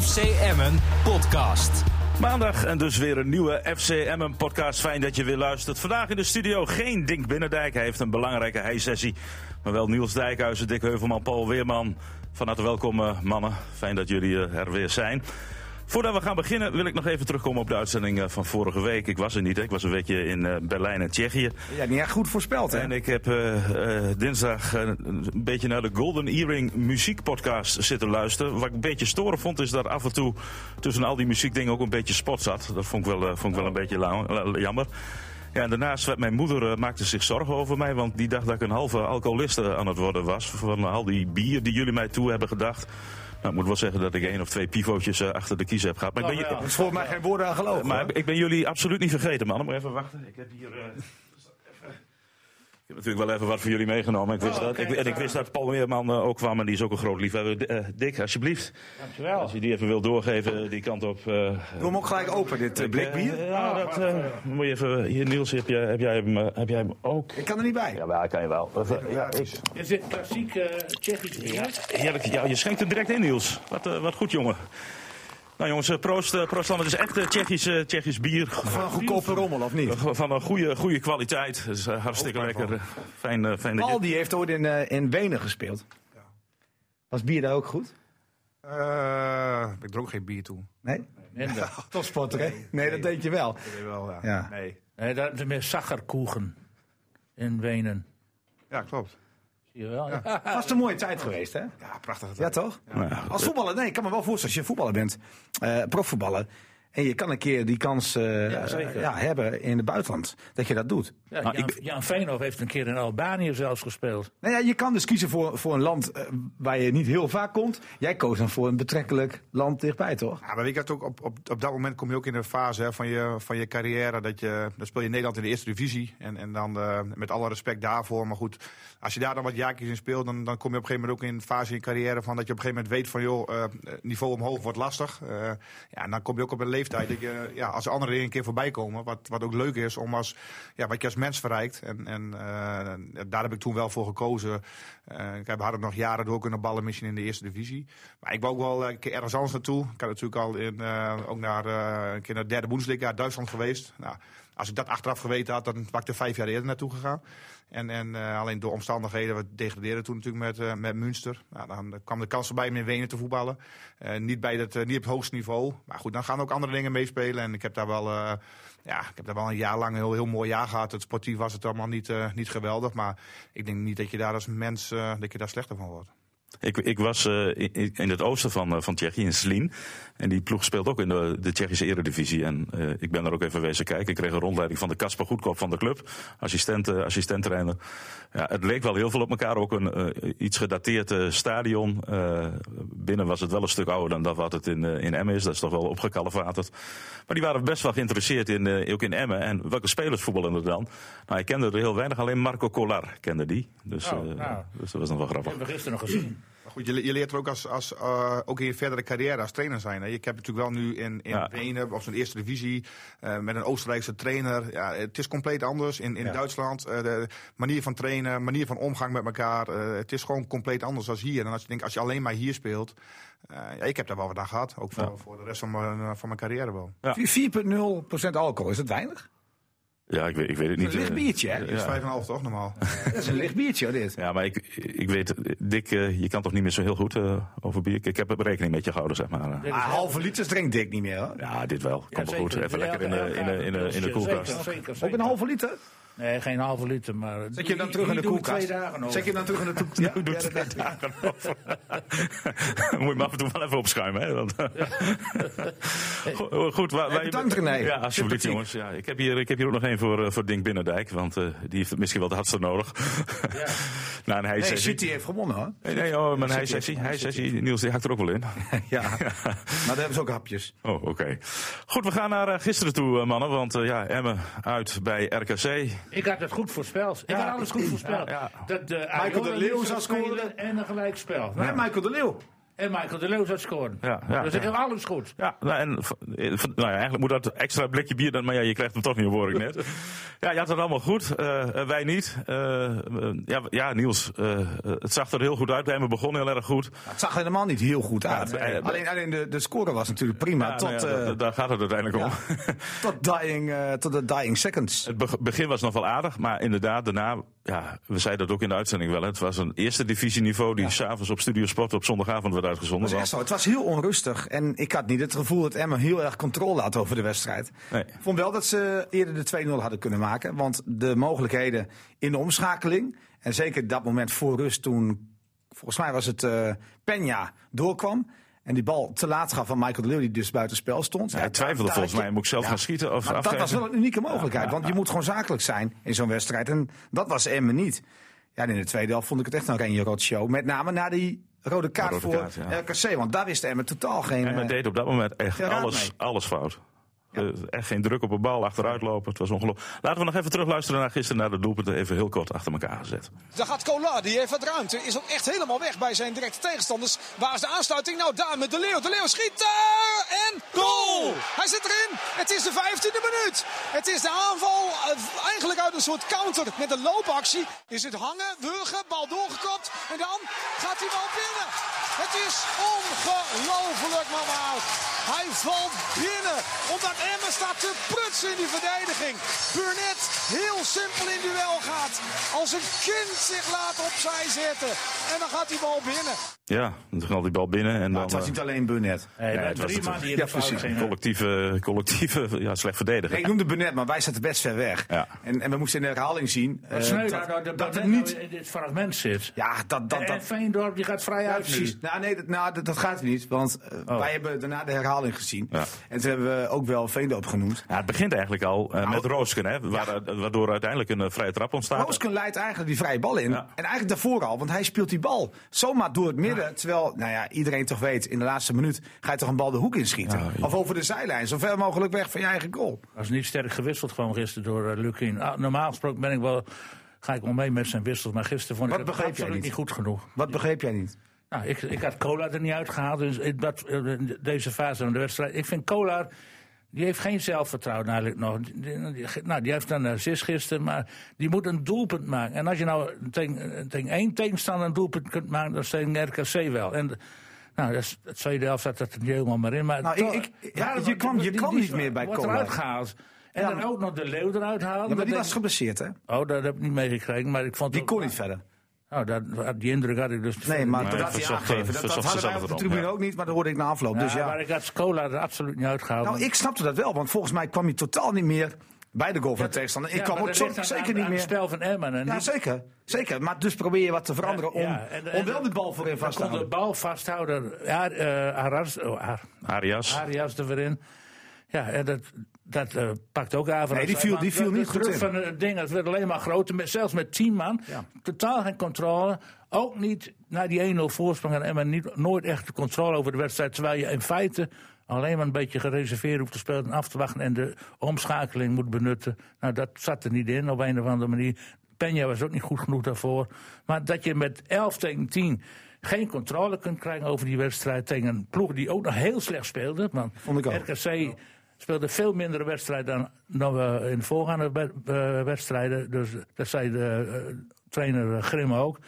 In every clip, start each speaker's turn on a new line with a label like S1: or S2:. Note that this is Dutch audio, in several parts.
S1: FC Emmen podcast.
S2: Maandag en dus weer een nieuwe FCM podcast. Fijn dat je weer luistert. Vandaag in de studio geen Dink Binnendijk. Hij heeft een belangrijke heisessie. Maar wel Niels Dijkhuizen, Dick Heuvelman, Paul Weerman. Van harte welkom eh, mannen. Fijn dat jullie eh, er weer zijn. Voordat we gaan beginnen wil ik nog even terugkomen op de uitzending eh, van vorige week. Ik was er niet, hè. ik was een weekje in eh, Berlijn en Tsjechië.
S3: Ja, niet echt goed voorspeld, hè?
S2: En ik heb eh, eh, dinsdag eh, een beetje naar de Golden Earring muziekpodcast zitten luisteren. Wat ik een beetje storen vond, is dat af en toe tussen al die muziekdingen ook een beetje spot zat. Dat vond ik wel, eh, vond ik wel een beetje lau- la- jammer. Ja, en daarnaast werd mijn moeder eh, maakte zich zorgen over mij, want die dacht dat ik een halve alcoholist eh, aan het worden was. Van al die bier die jullie mij toe hebben gedacht. Nou, ik moet wel zeggen dat ik één of twee pivootjes eh, achter de kies heb gehad. Maar, ik ben,
S3: Dat is volgens mij geen woorden aan gelogen.
S2: maar
S3: hoor.
S2: ik ben jullie absoluut niet vergeten, mannen. Maar even wachten. Ik heb hier. eh, Ik heb natuurlijk wel even wat voor jullie meegenomen. Ik wist dat. Ik, en ik wist dat Paul Weerman eh, ook kwam. En die is ook een groot liefhebber. Eh, Dick, alsjeblieft.
S4: Dankjewel.
S2: Als je die even wil doorgeven, eh, die kant op. eh,
S3: Doe hem ook gelijk open, dit eh, blik bier.
S2: eh, ja, dat eh, moet je even. Hier, Niels, heb jij, heb jij, hem, eh, heb jij hem ook?
S3: Ik kan er niet bij.
S2: Ja, kan je wel. Ja, ik,
S4: Er zit klassiek eh Tsjechisch in. hè?
S2: Heerlijk. Ja, je schenkt er direct in, Niels. Wat, eh, wat goed, jongen. Nou, jongens, eh, proost. eh, proost allemaal. Het is echt eh, Tsjechisch, eh, Tsjechisch bier.
S3: Van een goedkope rommel, of niet?
S2: Van een goede, goede kwaliteit. Dus, eh, hartstikke lekker. eh, Fijn, eh, fijn dat je-
S3: Paul die heeft ooit in, eh, in Wenen gespeeld. Was bier daar ook goed?
S5: Eh, ik dronk geen bier toen.
S3: Nee?
S4: Minder.
S3: Topsporter, hè? Nee, dat deed je wel.
S5: Ik weet wel, ja.
S3: Ja.
S5: Nee.
S4: Nee, dat is meer Sacherkoegen in Wenen.
S5: Ja, klopt.
S4: Zie je wel? Ja.
S3: Was een mooie tijd geweest, hè?
S5: Ja, prachtig.
S3: Ja, toch?
S2: Nou,
S3: Als voetballer, nee, ik kan me wel voorstellen, als je voetballer bent, eh, profvoetballer, en je kan een keer die kans eh,
S4: Ja, zeker.
S3: ja, hebben in het buitenland, dat je dat doet.
S2: Maar
S4: Jan,
S2: ik ben-
S4: Nou, Jan Veenhoff heeft een keer in Albanië zelfs gespeeld.
S3: Nou ja, je kan dus kiezen voor, voor een land eh, waar je niet heel vaak komt. Jij koos dan voor een betrekkelijk land dichtbij, toch?
S5: Ja, maar weet je dat ook, op, op, op dat moment kom je ook in een fase hè, van, je, van je carrière. Dat je, dan speel je in Nederland in de eerste divisie. En, en dan eh, met alle respect daarvoor. Maar goed, als je daar dan wat jaartjes in speelt, dan, dan kom je op een gegeven moment ook in een fase in je carrière. Van dat je op een gegeven moment weet van joh, eh, niveau omhoog wordt lastig. Eh, ja, en dan kom je ook op een leeftijd dat je, ja, als anderen er een keer voorbij komen. Wat, wat ook leuk is om als, ja, wat je als mens verrijkt. En, en eh, daar heb ik toen wel voor gekozen. Eh, ik heb hard nog jaren door kunnen ballen, misschien in de eerste divisie. Maar ik wou ook wel eh, een keer ergens anders naartoe. Ik had natuurlijk al in, eh, ook naar, eh, een keer naar de derde Bundesliga, naar Duitsland geweest. Nou, als ik dat achteraf geweten had, dan was ik er vijf jaar eerder naartoe gegaan. En, en eh, alleen door omstandigheden, we degradeerden toen natuurlijk met, eh, met Münster. Nou, dan eh, kwam de kans erbij om in Wenen te voetballen. Eh, niet, bij dat, eh, niet op het hoogste niveau. Maar goed, dan gaan ook andere dingen meespelen. En ik heb daar wel, eh, ja, ik heb daar wel een jaar lang een heel, heel mooi jaar gehad. Het sportief was het allemaal niet, eh, niet geweldig. Maar ik denk niet dat je daar als mens eh, dat je daar slechter van wordt.
S2: Ik, ik was eh, in, in het oosten van, eh, van Tsjechië, in Slien. En die ploeg speelt ook in de, de Tsjechische Eredivisie. En eh, ik ben er ook even wezen kijken. Ik kreeg een rondleiding van de Kasper Goedkoop van de club. Assistent, eh, assistent-trainer. Ja, het leek wel heel veel op elkaar. Ook een eh, iets gedateerd eh, stadion. Eh, binnen was het wel een stuk ouder dan dat wat het in, eh, in Emmen is. Dat is toch wel opgekalevaterd. Maar die waren best wel geïnteresseerd in, eh, ook in Emmen. En welke spelers voetballen er dan? Nou, ik kende er heel weinig. Alleen Marco Collar kende die. Dus,
S4: Oh,
S2: eh,
S4: nou.
S2: dus dat was nog wel
S4: Dat
S2: grappig.
S4: hebben we gisteren nog gezien.
S5: Maar goed, je, je leert er ook, als, als, eh, ook in je verdere carrière als trainer zijn. Hè. Ik heb natuurlijk wel nu in, in
S2: Ja.
S5: Wenen, op zijn eerste divisie, eh, met een Oostenrijkse trainer. Ja, het is compleet anders in, in Duitsland. eh, de manier van trainen, manier van omgang met elkaar. eh, het is gewoon compleet anders dan hier. En als je, denkt, als je alleen maar hier speelt. eh, ja, ik heb daar wel wat aan gehad. Ook voor, voor de rest van mijn, eh, van mijn carrière wel.
S2: Ja.
S3: 4,0% alcohol, is dat weinig?
S2: Ja, ik weet, ik weet het niet.
S3: Een licht
S2: eh.
S3: biertje, hè?
S5: Dat is 5,5 toch normaal?
S3: Dat is een licht biertje, hoor, dit.
S2: Ja, maar ik, ik weet, eh, Dick, eh, je kan toch niet meer zo heel goed eh, over bier. Ik, ik heb er rekening met je gehouden, zeg maar. eh.
S3: Maar halve liters drinkt Dick niet meer, hoor.
S2: Ja, dit wel. Kom wel goed.
S4: zeker.
S2: Even lekker in de, in de, in de, in de
S4: Zeker,
S2: koelkast.
S4: zeker, zeker.
S3: Ook een halve liter?
S4: Nee, geen halve liter, maar...
S3: Zet je hem dan terug in de koelkast?
S4: Twee dagen over.
S3: Zet je hem dan terug in de koelkast? Ja, ja, dat-
S2: Moet je me af en toe wel even opschuimen. Hè? Want, Go- eh, goed, waar, waar je-
S3: bedankt, René.
S2: Ja, alsjeblieft jongens. Ja, ik, heb hier, ik heb hier ook nog één voor, eh, voor Dink Binnendijk. Want eh, die heeft het misschien wel het hardste nodig.
S4: Ja.
S2: nou, en hij
S3: Nee,
S2: zegt...
S3: City heeft gewonnen, hoor.
S2: Nee, nee, oh, mijn hij-sessie. Hij-sessie. Niels, die hakt er ook wel in.
S3: Ja, maar daar hebben ze ook hapjes.
S2: Oh, oké. Goed, we gaan naar eh, gisteren toe, eh, mannen. Want eh, ja, Emmen uit bij RKC.
S4: Ik had het goed voorspeld. Ik had alles goed voorspeld.
S2: ja.
S4: Dat de
S3: Michael de Leeuw zou
S4: spelen
S3: scoren.
S4: en een gelijkspel.
S3: En
S4: Nou,
S3: Michael de Leeuw.
S4: En Michael de Leeuw zou scoren.
S2: Ja, ja,
S4: dus ik heb alles goed.
S2: Ja, nou, en, v- eh, v- nou ja, eigenlijk moet dat extra blikje bier dan, maar ja, je krijgt hem toch niet, hoor ik net. Ja, je had het allemaal goed, eh, eh, wij niet. Eh, eh, ja, w- ja, Niels, eh, eh, het zag er heel goed uit. We begonnen heel erg goed.
S3: Het zag helemaal niet heel goed uit.
S2: het- eh,
S3: alleen alleen de, de score was natuurlijk prima.
S2: Ja,
S3: tot,
S2: nou ja,
S3: eh,
S2: da- da- daar gaat het uiteindelijk om.
S3: tot, dying, eh, tot de dying seconds.
S2: Het beg- begin was nog wel aardig, maar inderdaad, daarna, ja, we zeiden dat ook in de uitzending wel. hè, Het was een eerste divisieniveau die s'avonds op Studio Sport op zondagavond werd uitgezonden.
S3: Het was echt zo. Het was heel onrustig. En ik had niet het gevoel dat Emma heel erg controle had over de wedstrijd.
S2: Nee.
S3: Ik vond wel dat ze eerder de 2-0 hadden kunnen maken. Want de mogelijkheden in de omschakeling. En zeker dat moment voor rust toen, volgens mij was het eh Peña, doorkwam. En die bal te laat gaf van Michael de Leeuw, die dus buitenspel stond.
S2: hij twijfelde
S3: daar-
S2: volgens mij, moet ik zelf gaan schieten of
S3: maar Ah, dat
S2: afgeven?
S3: was wel een unieke mogelijkheid. Want je moet gewoon zakelijk zijn in zo'n wedstrijd. En dat was Emmen niet. Ja, en in de tweede helft vond ik het echt een Renje Rot show. Met name na die rode kaart
S2: rode
S3: voor
S2: kaart, ja.
S3: RKC. Want daar wist Emmen totaal geen...
S2: En men
S3: eh,
S2: deed op dat moment echt
S3: Ja, raad
S2: alles,
S3: mee.
S2: alles fout. Eh, echt geen druk op een bal, achteruit lopen. Het was ongelooflijk. Laten we nog even terugluisteren naar gisteren, naar de doelpunten. Even heel kort achter elkaar gezet.
S6: Daar gaat Cola, die heeft wat ruimte. Is ook echt helemaal weg bij zijn directe tegenstanders. Waar is de aansluiting? Nou, daar met De Leeuw. De Leeuw schiet daar en goal! Hij zit erin. Het is de 15e minuut. Het is de aanval eh, eigenlijk uit een soort counter met een loopactie. Is het hangen, wurgen, bal doorgekopt en dan gaat hij bal binnen. Het is ongelooflijk, mama. Hij valt binnen omdat Emmen staat te prutsen in die verdediging. Burnett heel simpel in duel gaat. Als een kind zich laat opzij zetten. En dan gaat die bal binnen.
S2: Ja, dan ging al die bal binnen. En
S3: nou,
S2: dan,
S3: het was
S2: eh,
S3: niet alleen Burnett.
S4: Nee,
S2: het
S4: maar
S2: was
S4: drie
S2: het-
S4: man die in
S3: ja,
S4: de fout
S3: precies.
S4: gingen.
S2: collectieve, collectieve ja, slecht verdedigen.
S3: Nee, ik noemde Burnett, maar wij zaten best ver weg.
S2: Ja.
S3: En, en we moesten in de herhaling zien eh,
S4: Wat sneu
S3: dat,
S4: nou dat
S3: dat
S4: dat Eh,
S3: het
S4: niet
S3: niet...
S4: in dit fragment zit.
S3: Ja, dat... dat,
S4: En
S3: dat
S4: Veendorp die gaat vrij
S3: ja,
S4: uit nu.
S3: precies. Nou, nee, dat, nou, dat, dat gaat niet. Want eh, wij hebben daarna de herhaling gezien.
S2: Oh. Ja.
S3: En toen hebben we ook wel Veendorp genoemd.
S2: Ja, het begint eigenlijk al
S3: Nou,
S2: eh, met Roosken, hè, waar- waardoor uiteindelijk een eh, vrije trap ontstaat.
S3: Roosken leidt eigenlijk die vrije bal in.
S2: Ja.
S3: En eigenlijk daarvoor al, want hij speelt die bal zomaar door het midden. Terwijl, nou ja, iedereen toch weet, in de laatste minuut ga je toch een bal de hoek inschieten.
S2: Ja, ja.
S3: Of over de zijlijn, zo ver mogelijk weg van je eigen goal.
S4: was niet sterk gewisseld gewoon gisteren door uh, normaal gesproken ben ik wel, ga ik wel mee met zijn wissels. Maar gisteren vond ik
S3: Wat
S4: het
S3: begreep jij
S4: absoluut niet?
S3: niet?
S4: goed genoeg.
S3: Wat begreep jij niet?
S4: Nou, ik, ik had Kolar er niet uitgehaald. Dus in, dat, in deze fase van de wedstrijd. Ik vind Kolar. Die heeft geen zelfvertrouwen eigenlijk nog. Die- die- nou, die heeft dan een assist gisteren, maar die moet een doelpunt maken. En als je nou tegen, tegen één tegenstander een doelpunt kunt maken, dan is het tegen RKC wel. En nou, dat is, het tweede helft zat dat er niet helemaal maar in. Maar
S3: Nou,
S4: toch-
S3: ik- ik- ja,
S4: daarom-
S3: je kwam- je
S4: die-
S3: kwam
S4: die
S3: niet meer bij
S4: wordt
S3: Kolar.
S4: eruit gehaald. En
S3: Ja,
S4: dan
S3: maar-
S4: ook nog de leeuw eruit halen.
S3: Ja, maar
S4: Dan
S3: die
S4: denk
S3: was
S4: ik-
S3: geblesseerd, hè?
S4: Oh, dat heb ik niet meegekregen, maar ik vond...
S3: Die
S4: ook-
S3: kon niet verder.
S4: Nou, dat, die indruk had ik dus...
S3: Nee, maar
S2: Nee,
S3: dat had hij
S2: verzocht, eh,
S3: aangegeven. Dat, dat
S2: verzocht
S3: hadden
S2: zichzelf
S3: wij op de
S2: erom,
S3: tribune
S2: ja.
S3: ook niet, maar dat hoorde ik na afloop. Dus ja.
S4: Nou, Maar ik had Scola er absoluut niet uitgehaald.
S3: Nou, ik snapte dat wel, want volgens mij kwam hij totaal niet meer bij de goal van de tegenstander. Ik
S4: Ja,
S3: kwam
S4: maar
S3: ook
S4: dat
S3: zo-
S4: ligt aan-
S3: zeker
S4: aan-
S3: niet
S4: aan het
S3: meer.
S4: spel van Emmen. En
S3: Ja,
S4: die-
S3: zeker. Zeker. Maar dus probeer je wat te veranderen om,
S4: Ja, en- en-
S3: om wel de bal voorin
S4: dan
S3: vast te
S4: kon de
S3: houden.
S4: bal vasthouden. Ja, eh, Aras, oh, Ar-
S2: Arias.
S4: Arias er weer in. Ja, en dat, dat eh, pakt ook Avermaet.
S3: Nee, die viel- die viel niet goed
S4: De druk
S3: in.
S4: van het ding, het werd alleen maar groter. Met, zelfs met tien man.
S3: Ja.
S4: Totaal geen controle. Ook niet naar die 1-0 voorsprong. En Emmen niet, nooit echt de controle over de wedstrijd. Terwijl je in feite alleen maar een beetje gereserveerd hoeft te spelen. En af te wachten. En de omschakeling moet benutten. Nou, dat zat er niet in op een of andere manier. Peña was ook niet goed genoeg daarvoor. Maar dat je met 11 tegen 10 geen controle kunt krijgen over die wedstrijd. Tegen een ploeg die ook nog heel slecht speelde. Want
S3: Vond ik ook.
S4: RKC speelde veel minder wedstrijd dan, dan we in de voorgaande wed- eh, wedstrijden. Dus dat zei de eh, trainer Grim ook.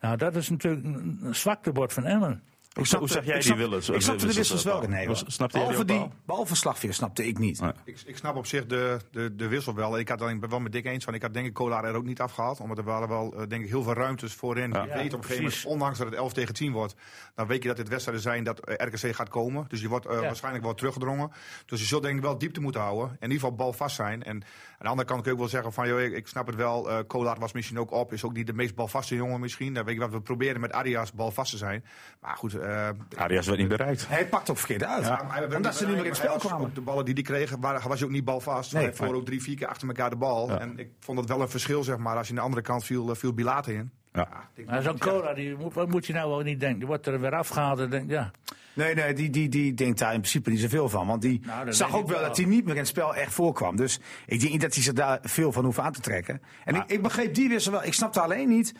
S4: Nou, dat is natuurlijk een een zwaktebord van Emmen.
S2: Hoe,
S3: snapte-
S2: hoe zag jij
S3: ik
S2: die eh,
S3: snapte-
S2: willen?
S3: Ik snapte de wissels wel, René. hoor.
S2: Snapte jij die
S3: behalve,
S2: ook
S3: die,
S2: wel?
S3: behalve slagveer snapte ik niet.
S2: Nee.
S5: Ik, ik snap op zich de, de, de wissel wel. Ik, had, dan- ik ben wel met Dick eens van. Ik had denk ik Kolar er ook niet afgehaald. Omdat er waren wel eh, denk ik heel veel ruimtes voorin. Je weet op een gegeven moment,
S4: precies.
S5: ondanks dat het 11 tegen 10 wordt. Dan weet je dat dit wedstrijden zijn dat eh, RKC gaat komen. Dus je wordt eh,
S4: Ja.
S5: waarschijnlijk wel teruggedrongen. Dus je zult denk ik wel diepte moeten houden. En in ieder geval balvast zijn. En aan de andere kant kun je ook wel zeggen van. Joh, ik, ik snap het wel. eh Kolar was misschien ook op. Is ook niet de meest balvaste jongen misschien. Dan weet je wat we proberen met Arias balvast te zijn. Maar goed. eh,
S2: Arias werd niet bereikt.
S3: Hij pakt ook verkeerd uit.
S5: ja, maar hij werd
S3: omdat ze niet meer in het spel
S5: hij was-
S3: kwamen.
S5: Op de ballen die hij kreeg, waren- was hij ook niet balvast.
S3: Nee,
S5: hij verloor ook drie, vier keer achter elkaar de bal. En ik vond het wel een verschil, zeg maar. Als je aan de andere kant viel, eh, viel Bilate in.
S2: Ja.
S5: ik denk-
S4: Nou, Zo'n cola, die moet, wat moet je nou wel niet denken? Die wordt er weer afgehaald. En denk, ja.
S3: Nee, nee, die, die, die denkt daar in principe niet zoveel van. Want die
S4: Nou, dat
S3: zag
S4: weet
S3: ook
S4: ik
S3: wel
S4: wel.
S3: dat hij niet meer in het spel echt voorkwam. Dus ik denk niet dat hij zich daar veel van hoeft aan te trekken. En ik, ik begreep die wissel wel. Ik snapte alleen niet,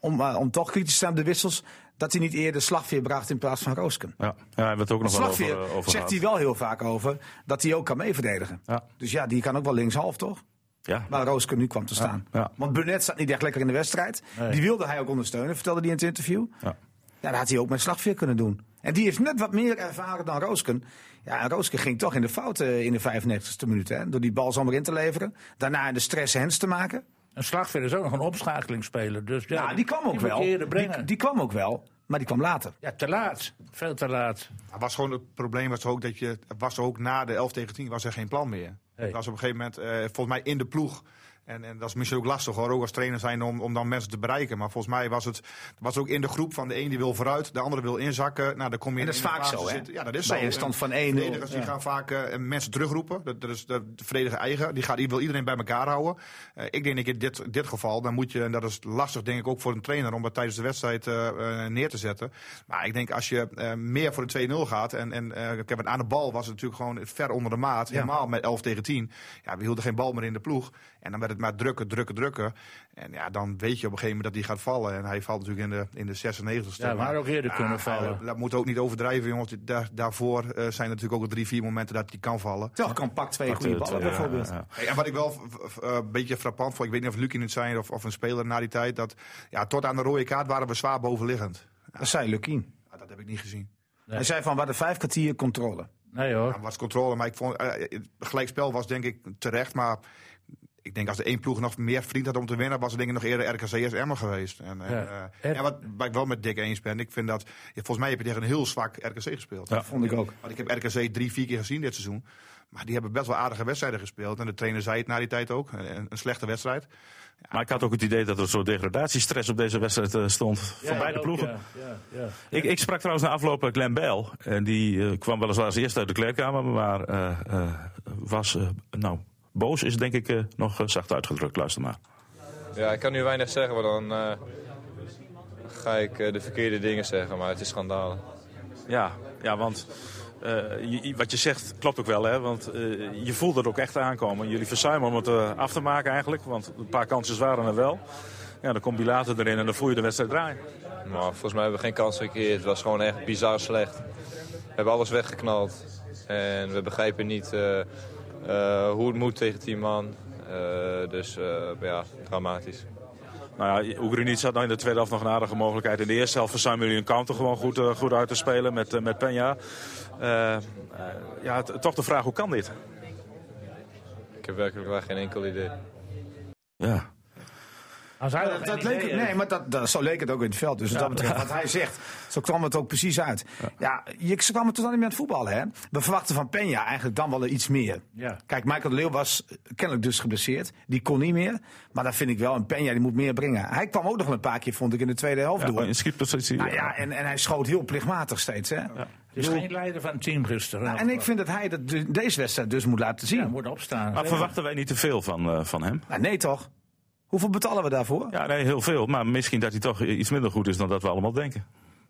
S3: om, eh, om toch kritisch te zijn op de wissels... dat hij niet eerder slagveer bracht in plaats van Roosken.
S2: Ja, ja hij werd ook nog wel
S3: Slagveer
S2: over, eh, over
S3: zegt
S2: gehad.
S3: hij wel heel vaak over dat hij ook kan meeverdedigen.
S2: Ja.
S3: Dus ja, die kan ook wel linkshalf, toch?
S2: Ja,
S3: Waar Roosken nu kwam te staan.
S2: ja.
S3: Want Burnett staat niet echt lekker in de wedstrijd. Die wilde hij ook ondersteunen, vertelde hij in het interview.
S2: ja.
S3: Ja, dat had hij ook met slagveer kunnen doen. En die heeft net wat meer ervaren dan Roosken. Ja, en Roosken ging toch in de fout eh, in de 95ste minuut. Hè, door die bal zomaar in te leveren. Daarna in de stress hens te maken.
S4: Een slagveer is ook nog een opschakelingsspeler. Dus ja,
S3: Ja, die kwam ook
S4: moet je
S3: wel.
S4: eerder brengen.
S3: Die, die kwam ook wel, maar die kwam later.
S4: Ja, te laat. Veel te laat.
S5: Het was gewoon het probleem was ook dat je was ook na de 11 tegen 10 was er geen plan meer.
S4: Nee.
S5: Het was op een gegeven moment eh, volgens mij in de ploeg. En, en dat is misschien ook lastig hoor, ook als trainer zijn om, om dan mensen te bereiken. Maar volgens mij was het was ook in de groep van de een die wil vooruit, de andere wil inzakken. Nou, dan kom je
S3: En dat
S5: in
S3: is
S5: de
S3: vaak
S5: fase
S3: zo, hè?
S5: zitten. Ja, dat is
S3: Bij
S5: zo.
S3: een stand
S5: En
S3: van 1-0,
S5: Verdedigers die
S3: ja.
S5: gaan vaak eh, mensen terugroepen. Dat, dat is de verdediger eigen. Die, gaat, die wil iedereen bij elkaar houden. Eh, ik denk dat in dit, dit geval, dan moet je, en dat is lastig denk ik ook voor een trainer om dat tijdens de wedstrijd eh, eh, neer te zetten. Maar ik denk als je eh, meer voor de 2-0 gaat. En, en eh, ik heb het aan de bal was het natuurlijk gewoon ver onder de maat. Helemaal met 11 tegen 10. Ja, we hielden geen bal meer in de ploeg. En dan werd het maar drukken, drukken, drukken. En ja, dan weet je op een gegeven moment dat die gaat vallen. En hij valt natuurlijk in de, in de Ah, 96
S4: Ja, maar ook eerder kunnen vallen.
S5: dat moet ook niet overdrijven, jongens. Dit- daar- daarvoor eh, zijn er natuurlijk ook drie, vier momenten dat die kan vallen.
S3: Toch kan pak twee goede
S2: het,
S3: ballen
S2: eh,
S3: bijvoorbeeld.
S2: ja, ja.
S5: Hey, en wat ik wel v- v- eh, een beetje frappant vond, ik weet niet of Luc in het zijn of, of een speler na die tijd, dat ja, tot aan de rode kaart waren we zwaar bovenliggend.
S3: Dat zei Lukien.
S5: Ja, dat heb ik niet gezien.
S3: Hij zei van, we hadden vijf kwartier controle.
S4: Nee hoor.
S5: Ja, was controle, maar ik vond eh, het gelijkspel was denk ik terecht, maar ik denk als de één ploeg nog meer vriend had om te winnen, was het denk ik nog eerder RKCS Emmer geweest. En, en,
S4: Ja.
S5: eh,
S4: Er-
S5: en wat, waar ik wel met Dick eens ben, ik vind dat, volgens mij heb je tegen een heel zwak RKC gespeeld.
S2: Ja.
S3: Vond ik ook.
S5: Want ik heb RKC drie, vier keer gezien dit seizoen. Maar die hebben best wel aardige wedstrijden gespeeld. En de trainer zei het na die tijd ook. Een, een slechte wedstrijd.
S2: Maar ik had ook het idee dat er een soort degradatiestress op deze wedstrijd eh, stond. van beide
S4: ook,
S2: ploegen.
S4: Ja, ja, ja.
S2: Ik, ik sprak trouwens na afloop eh, Glenn Bell. En die eh, kwam weliswaar als eerste uit de kleedkamer. Maar eh, eh, was, eh, nou, boos is denk ik eh, nog eh, zacht uitgedrukt. Luister maar.
S7: Ja, ik kan nu weinig zeggen, want dan eh, ga ik eh, de verkeerde dingen zeggen, maar het is schandalen.
S2: Ja, ja want eh, je- je- wat je zegt klopt ook wel. Hè? Want eh, je voelt het ook echt aankomen. Jullie verzuimen om het eh, af te maken eigenlijk. Want een paar kansen waren er wel. Ja, dan komt die later erin en dan voel je de wedstrijd draaien.
S7: Maar volgens mij hebben we geen kans gecreëerd. Het was gewoon echt bizar slecht. We hebben alles weggeknald. En we begrijpen niet eh, eh, hoe het moet tegen 10 man. Eh, dus eh, ja, dramatisch.
S2: Nou ja, Oegrinic had nou in de tweede helft nog een aardige mogelijkheid. In de eerste helft verzuimen jullie een counter gewoon goed, eh, goed uit te spelen met, eh, met Peña. Eh, eh, ja, t- toch de vraag, hoe kan dit?
S7: Ik heb werkelijk waar geen enkel idee.
S2: Ja,
S4: Als hij nog
S3: Dat,
S4: geen
S3: dat leek,
S4: idee
S3: het- nee,
S4: heeft.
S3: maar dat, dat, zo leek het ook in het veld. Dus wat, dat betreft, wat hij zegt, zo kwam het ook precies uit. Ja, je ze kwamen tot aan niet meer aan het voetballen. Hè? We verwachten van Peña eigenlijk dan wel iets meer.
S4: Ja.
S3: Kijk, Michael de Leeuw was kennelijk dus geblesseerd. Die kon niet meer. Maar dat vind ik wel. En Peña die moet meer brengen. Hij kwam ook nog een paar keer, vond ik, in de tweede helft door.
S2: in schietpositie.
S3: Nou ja, en, en hij schoot heel plichtmatig steeds. Hè? Nou,
S4: Het is geen leider van het team gisteren. Nou,
S3: En ik vind dat hij dat, de- deze wedstrijd dus moet laten zien.
S4: Ja, moet opstaan.
S2: Maar verwachten wij niet te veel van, eh, van hem?
S3: Nou, nee toch? Hoeveel betalen we daarvoor?
S2: Ja, nee, heel veel. Maar misschien dat hij toch iets minder goed is dan dat we allemaal denken.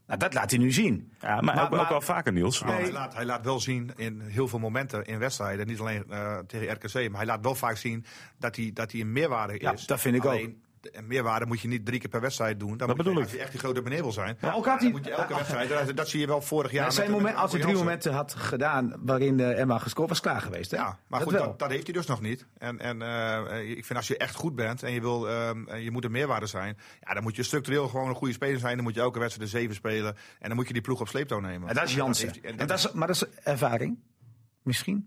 S3: Nou, dat laat hij nu zien.
S2: Ja, maar,
S3: Maar-
S2: ook, ook
S3: maar-
S2: wel vaker, Niels.
S5: Maar Hij, laat, hij laat wel zien in heel veel momenten in wedstrijden. Niet alleen eh, tegen RKC. Maar hij laat wel vaak zien dat hij, dat hij een meerwaarde
S3: Ja,
S5: is.
S3: dat vind ik
S5: alleen, de- Een meerwaarde moet je niet drie keer per wedstrijd doen. Dan moet je,
S2: bedoel ik.
S5: Als je echt die grote meneer wil zijn.
S3: Maar ook had
S5: dan
S3: hij-
S5: moet je elke wedstrijd. Dat, dat zie je wel vorig jaar.
S3: Ja,
S5: met-
S3: zijn
S5: met
S3: moment, als hij drie
S5: Jansen.
S3: momenten had gedaan waarin eh, Emma gescoord was, klaar geweest. Hè?
S5: Ja, maar
S3: Dat
S5: goed,
S3: wel.
S5: dat, dat heeft hij dus nog niet. En, en eh, ik vind als je echt goed bent en je, wil, ehm, en je moet een meerwaarde zijn, ja, dan moet je structureel gewoon een goede speler zijn. Dan moet je elke wedstrijd de zeven spelen. En dan moet je die ploeg op sleeptouw nemen.
S3: En dat is Jansen.
S5: heeft hij- en
S3: En dat is, maar dat is ervaring. Misschien.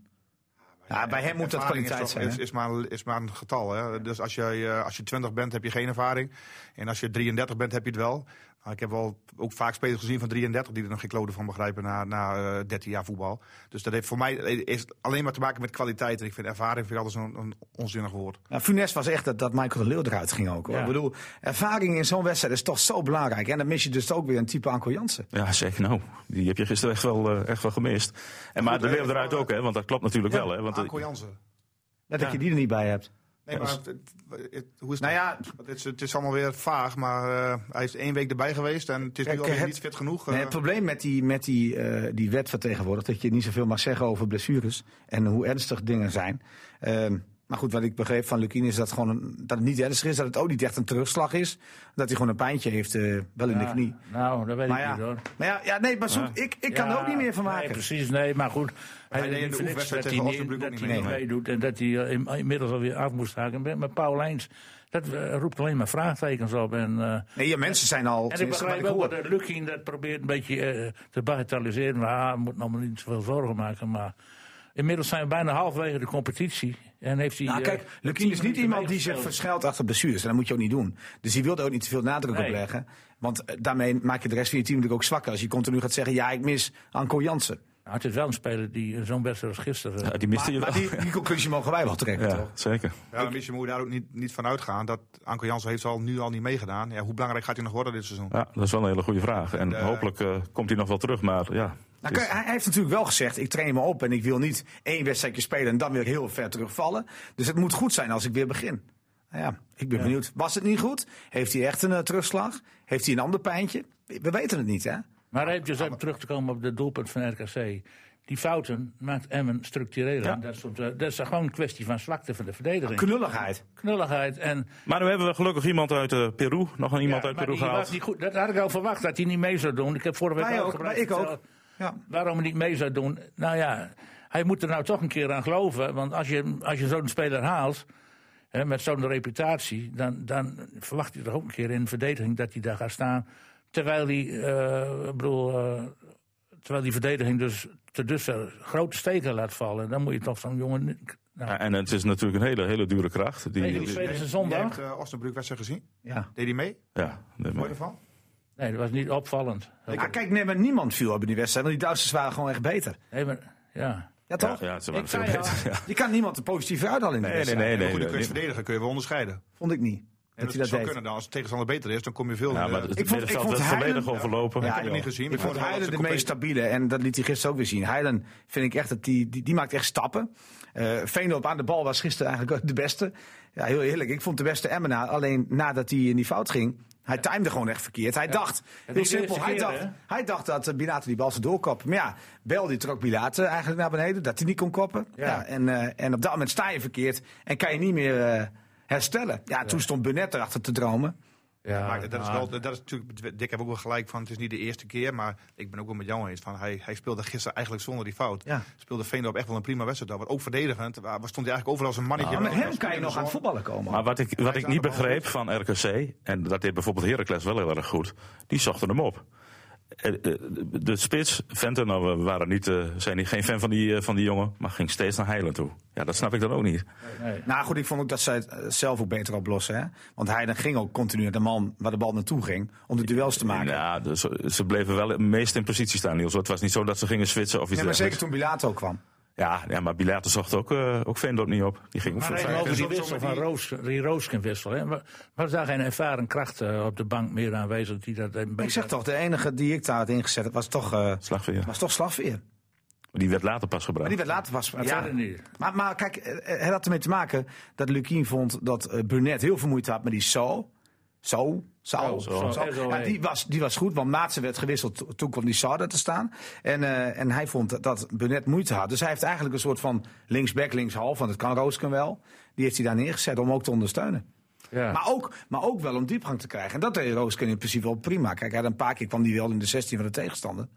S3: Ja, bij hem moet dat
S5: Ervaring
S3: kwaliteit
S5: is toch-
S3: zijn.
S5: Is,
S3: hè?
S5: is, maar, een- is maar een getal. Hè? Dus als je, eh, als je 20 bent, heb je geen ervaring. En als je 33 bent, heb je het wel. Nou, ik heb wel ook vaak spelers gezien van 33 die er nog geen klote van begrijpen na, na eh, 13 jaar voetbal. Dus dat heeft voor mij eh, is alleen maar te maken met kwaliteit. En ik vind ervaring vind ik altijd zo'n een onzinnig woord.
S3: Nou, Funes was echt dat, dat Michael de Leeuw eruit ging ook. Hoor.
S4: Ja.
S3: Ik bedoel, ervaring in zo'n wedstrijd is toch zo belangrijk. En dan mis je dus ook weer een type Anko Jansen.
S2: Ja, zeker. Nou, die heb je gisteren echt wel, eh, echt wel gemist. En maar de
S5: eh,
S2: leeuw eruit ook, hè? Want dat klopt natuurlijk wel, hè? Want, eh,
S5: Anko Jansen.
S3: Net dat je die er niet bij hebt.
S5: Nee, maar het- het- het- hoe is het?
S3: Nou ja,
S5: Want Het is, het is allemaal weer vaag, maar eh, hij is één week erbij geweest en het is
S3: Kijk,
S5: nu alweer
S3: het-
S5: niet fit genoeg.
S3: nee,
S5: eh.
S3: het probleem met die, met die, eh, die wet van tegenwoordig... dat je niet zoveel mag zeggen over blessures... en hoe ernstig dingen zijn. Ehm, Maar goed, wat ik begreep van Lukien is dat, gewoon een- dat het niet ernstig is. Dat het ook niet echt een terugslag is. Dat hij gewoon een pijntje heeft, eh, wel in de knie.
S4: Nou, dat weet
S3: Maar
S4: ik
S3: ja,
S4: niet hoor.
S3: maar ja, ja, nee, maar zoek, ik, ik kan
S4: Ja,
S3: er ook niet meer van maken.
S4: Nee, precies, nee, maar goed. Hij
S5: deed
S4: deed
S5: in
S4: niet
S5: de
S4: voor niks
S5: oefenwedstrijd
S4: dat hij
S5: tegen
S4: niet,
S5: Osnabrück
S4: dat
S5: ook
S4: hij
S5: niet
S4: niet
S5: mee.
S4: meedoet en dat hij eh, in- inmiddels alweer af moest haken. Maar Paul Lijns, dat eh, roept alleen maar vraagtekens op. En, eh,
S3: nee, ja, mensen zijn al.
S4: en ik
S3: tenminste, wat
S4: begrijp
S3: ik
S4: ook
S3: hoor.
S4: dat Lukin dat probeert een beetje eh, te bagatelliseren. Maar ah, moet nog maar niet zoveel zorgen maken. Maar inmiddels zijn we bijna halverwege de competitie. En heeft hij.
S3: Nou,
S4: eh,
S3: kijk,
S4: tien
S3: Lukien is niet
S4: minuten
S3: iemand die zich
S4: meegespeeld.
S3: verschuilt achter blessures. En dat moet je ook niet doen. Dus die wilde ook niet te veel nadruk
S4: Nee.
S3: op leggen. Want eh, daarmee maak je de rest van je team natuurlijk ook zwakker. Als je continu gaat zeggen: ja, ik mis Anko Jansen.
S4: Nou, het is wel een speler die eh, zo'n wedstrijd als gisteren. eh,
S2: Ja, die miste
S3: Maar,
S2: je
S3: maar
S2: wel.
S3: die, die conclusie mogen wij wel trekken,
S2: ja,
S3: toch?
S2: zeker.
S5: Ja, dan moet je moet daar ook niet, niet van uitgaan. Dat Anko Jansen heeft al, nu al niet meegedaan. Ja, hoe belangrijk gaat hij nog worden dit seizoen?
S2: Ja, dat is wel een hele goede vraag. En hopelijk eh, komt hij nog wel terug. Maar ja, het
S3: Nou,
S2: is-
S3: kijk, hij hij heeft natuurlijk wel gezegd: ik train me op en ik wil niet één wedstrijdje spelen en dan weer heel ver terugvallen. Dus het moet goed zijn als ik weer begin. Nou ja, ik ben benieuwd. Was het niet goed? Heeft hij echt een eh, terugslag? Heeft hij een ander pijntje? We we weten het niet, hè?
S4: Maar hij heeft dus even terug te komen op het doelpunt van RKC. Die fouten maakt Emmen structureel. En Dat, is, op de- dat is gewoon een kwestie van zwakte van de verdediging.
S3: Knulligheid.
S4: Knulligheid. En,
S2: maar nu hebben we gelukkig iemand uit eh, Peru. Nog een iemand
S4: Ja,
S2: uit
S4: maar
S2: Peru
S4: die was
S2: gehaald.
S4: niet goed. Dat had ik al verwacht, dat hij niet mee zou doen. Ik heb vorige week
S3: Wij ook,
S4: uitgebreid
S3: maar ik ook.
S4: verteld
S3: Ja.
S4: Waarom hij niet mee zou doen. Nou ja, hij moet er nou toch een keer aan geloven. Want als je, als je zo'n speler haalt, hè, met zo'n reputatie... Dan, dan verwacht je toch ook een keer in de verdediging dat hij daar gaat staan. Terwijl die, eh, ik bedoel, eh, terwijl die verdediging dus te dussen grote steken laat vallen. Dan moet je toch zo'n jongen... niet- Nou,
S2: Ja, en het is natuurlijk een hele, hele dure kracht. Die,
S4: nee, die tweede is een
S5: Jij
S4: zondag.
S5: hebt uh, wedstrijd gezien?
S3: Ja.
S5: Deed hij mee?
S2: ja, nee,
S5: Mooi
S2: maar-
S5: ervan?
S4: Nee, dat was niet opvallend.
S3: Ah, kijk, nee, maar niemand viel op in die wedstrijd, want die Duitsers waren gewoon echt beter.
S4: Nee, maar, ja.
S3: Ja,
S2: ja,
S3: toch?
S2: ja, het is wel
S4: Ik
S2: veel
S4: zei al,
S2: beter. Ja.
S3: Je kan niemand een positieve uithalen in
S2: Nee,
S3: die
S2: nee,
S3: wedstrijd.
S2: nee.
S5: En een
S2: nee,
S5: goede
S2: nee,
S5: kunst
S2: nee.
S5: verdedigen kun je wel onderscheiden.
S3: Vond ik niet. dat
S5: En dat
S3: hij dat
S5: zou
S3: deed.
S5: kunnen dan. Als de tegenstander beter is, dan kom je veel.
S2: Ja,
S5: in
S2: maar
S5: de-
S2: het
S3: ik vond
S2: middenveld werd
S3: Heijnen-
S2: volledig overlopen.
S5: ik
S2: Ja,
S5: heb het niet gezien. maar
S3: Ik vond
S5: wel dat
S3: Heijlen
S5: ze
S3: de meest
S5: compleet-
S3: stabiele. En dat liet hij gisteren ook weer zien. Heijlen vind ik echt dat die, die, die maakt echt stappen. Eh Veenloop aan de bal was gisteren eigenlijk ook de beste. Ja, heel eerlijk. Ik vond de beste Emmenaar. Alleen nadat hij in die fout ging. Hij timde gewoon echt verkeerd. Hij dacht,
S4: de
S3: heel
S4: eerste
S3: simpel, hij
S4: keer,
S3: dacht,
S4: hè?
S3: hij dacht dat eh, Bilate die bal zou doorkoppen. Maar ja, Bel die trok Bilate eigenlijk naar beneden, dat hij niet kon koppen. Ja. en, eh, en op dat moment sta je verkeerd en kan je niet meer eh, herstellen. Ja, toen stond Burnett erachter te dromen.
S4: ja
S5: Maar dat is,
S4: nou,
S5: wel, dat is natuurlijk, Dick heb ook wel gelijk van, het is niet de eerste keer, maar ik ben ook wel met jou eens. Van, hij, hij speelde gisteren eigenlijk zonder die fout.
S3: Ja.
S5: Speelde Veendorp echt wel een prima wedstrijd. daar, want Ook verdedigend, waar, waar stond hij eigenlijk overal als een mannetje.
S3: Maar met
S5: Hij
S3: hem kan je nog aan het voetballen komen.
S2: Maar wat ik, wat ik niet begreep van RKC, en dat deed bijvoorbeeld Heracles wel heel erg goed, die zochten hem op. Eh, eh, De spits, Venten, nou, we waren niet, eh, zijn niet, geen fan van die, eh, van die jongen, maar ging steeds naar Heiland toe. Ja, dat snap ik dan ook niet.
S3: Nou goed, ik vond ook dat zij het eh, zelf ook beter oplossen. Hè? Want hij dan ging ook continu naar de man waar de bal naartoe ging. Om de duels te maken.
S2: Ja, dus, eh, ze bleven wel het meest in positie staan, Niels. Het was niet zo dat ze gingen switchen of iets
S3: Nee, maar zeker
S2: dergelijks.
S3: toen Bilato kwam.
S2: Ja, ja, maar Bilater zocht ook, eh ook Veendorp niet op. Die ging ook voor
S4: Maar
S2: vijf.
S4: even over die
S5: Soms
S4: wissel
S5: met
S4: van
S5: die-
S4: Roos, die Rooskenwissel. hè. Wa- Was daar geen ervaren kracht eh, op de bank meer aanwezig die dat een
S3: Ik
S4: beetje...
S3: zeg toch, de enige die ik daar had ingezet heb, was toch, eh
S2: Slagveer.
S3: was toch Slagveer.
S2: Die werd later pas
S3: Maar
S2: gebruikt.
S3: die werd later pas.
S4: Maar
S3: ja.
S4: verder niet.
S3: maar, maar kijk, eh, het had ermee te maken dat Lukien vond dat eh, Burnett heel veel moeite had met die zo. Zo. Zo,
S4: Zo,
S3: Zo.
S4: zo.
S3: Ja, die, was, die was goed, want Maatsen werd gewisseld. to- Toen kwam die Sauder te staan. En, eh, en hij vond dat, dat Burnett moeite had. Dus hij heeft eigenlijk een soort van linksback, linkshalf. Want dat kan Roosken wel. Die heeft hij daar neergezet om ook te ondersteunen.
S4: Ja.
S3: Maar ook, maar ook wel om diepgang te krijgen. En dat deed Roosken in principe wel prima. Kijk, hij had een paar keer kwam hij wel in de 16 van de tegenstander.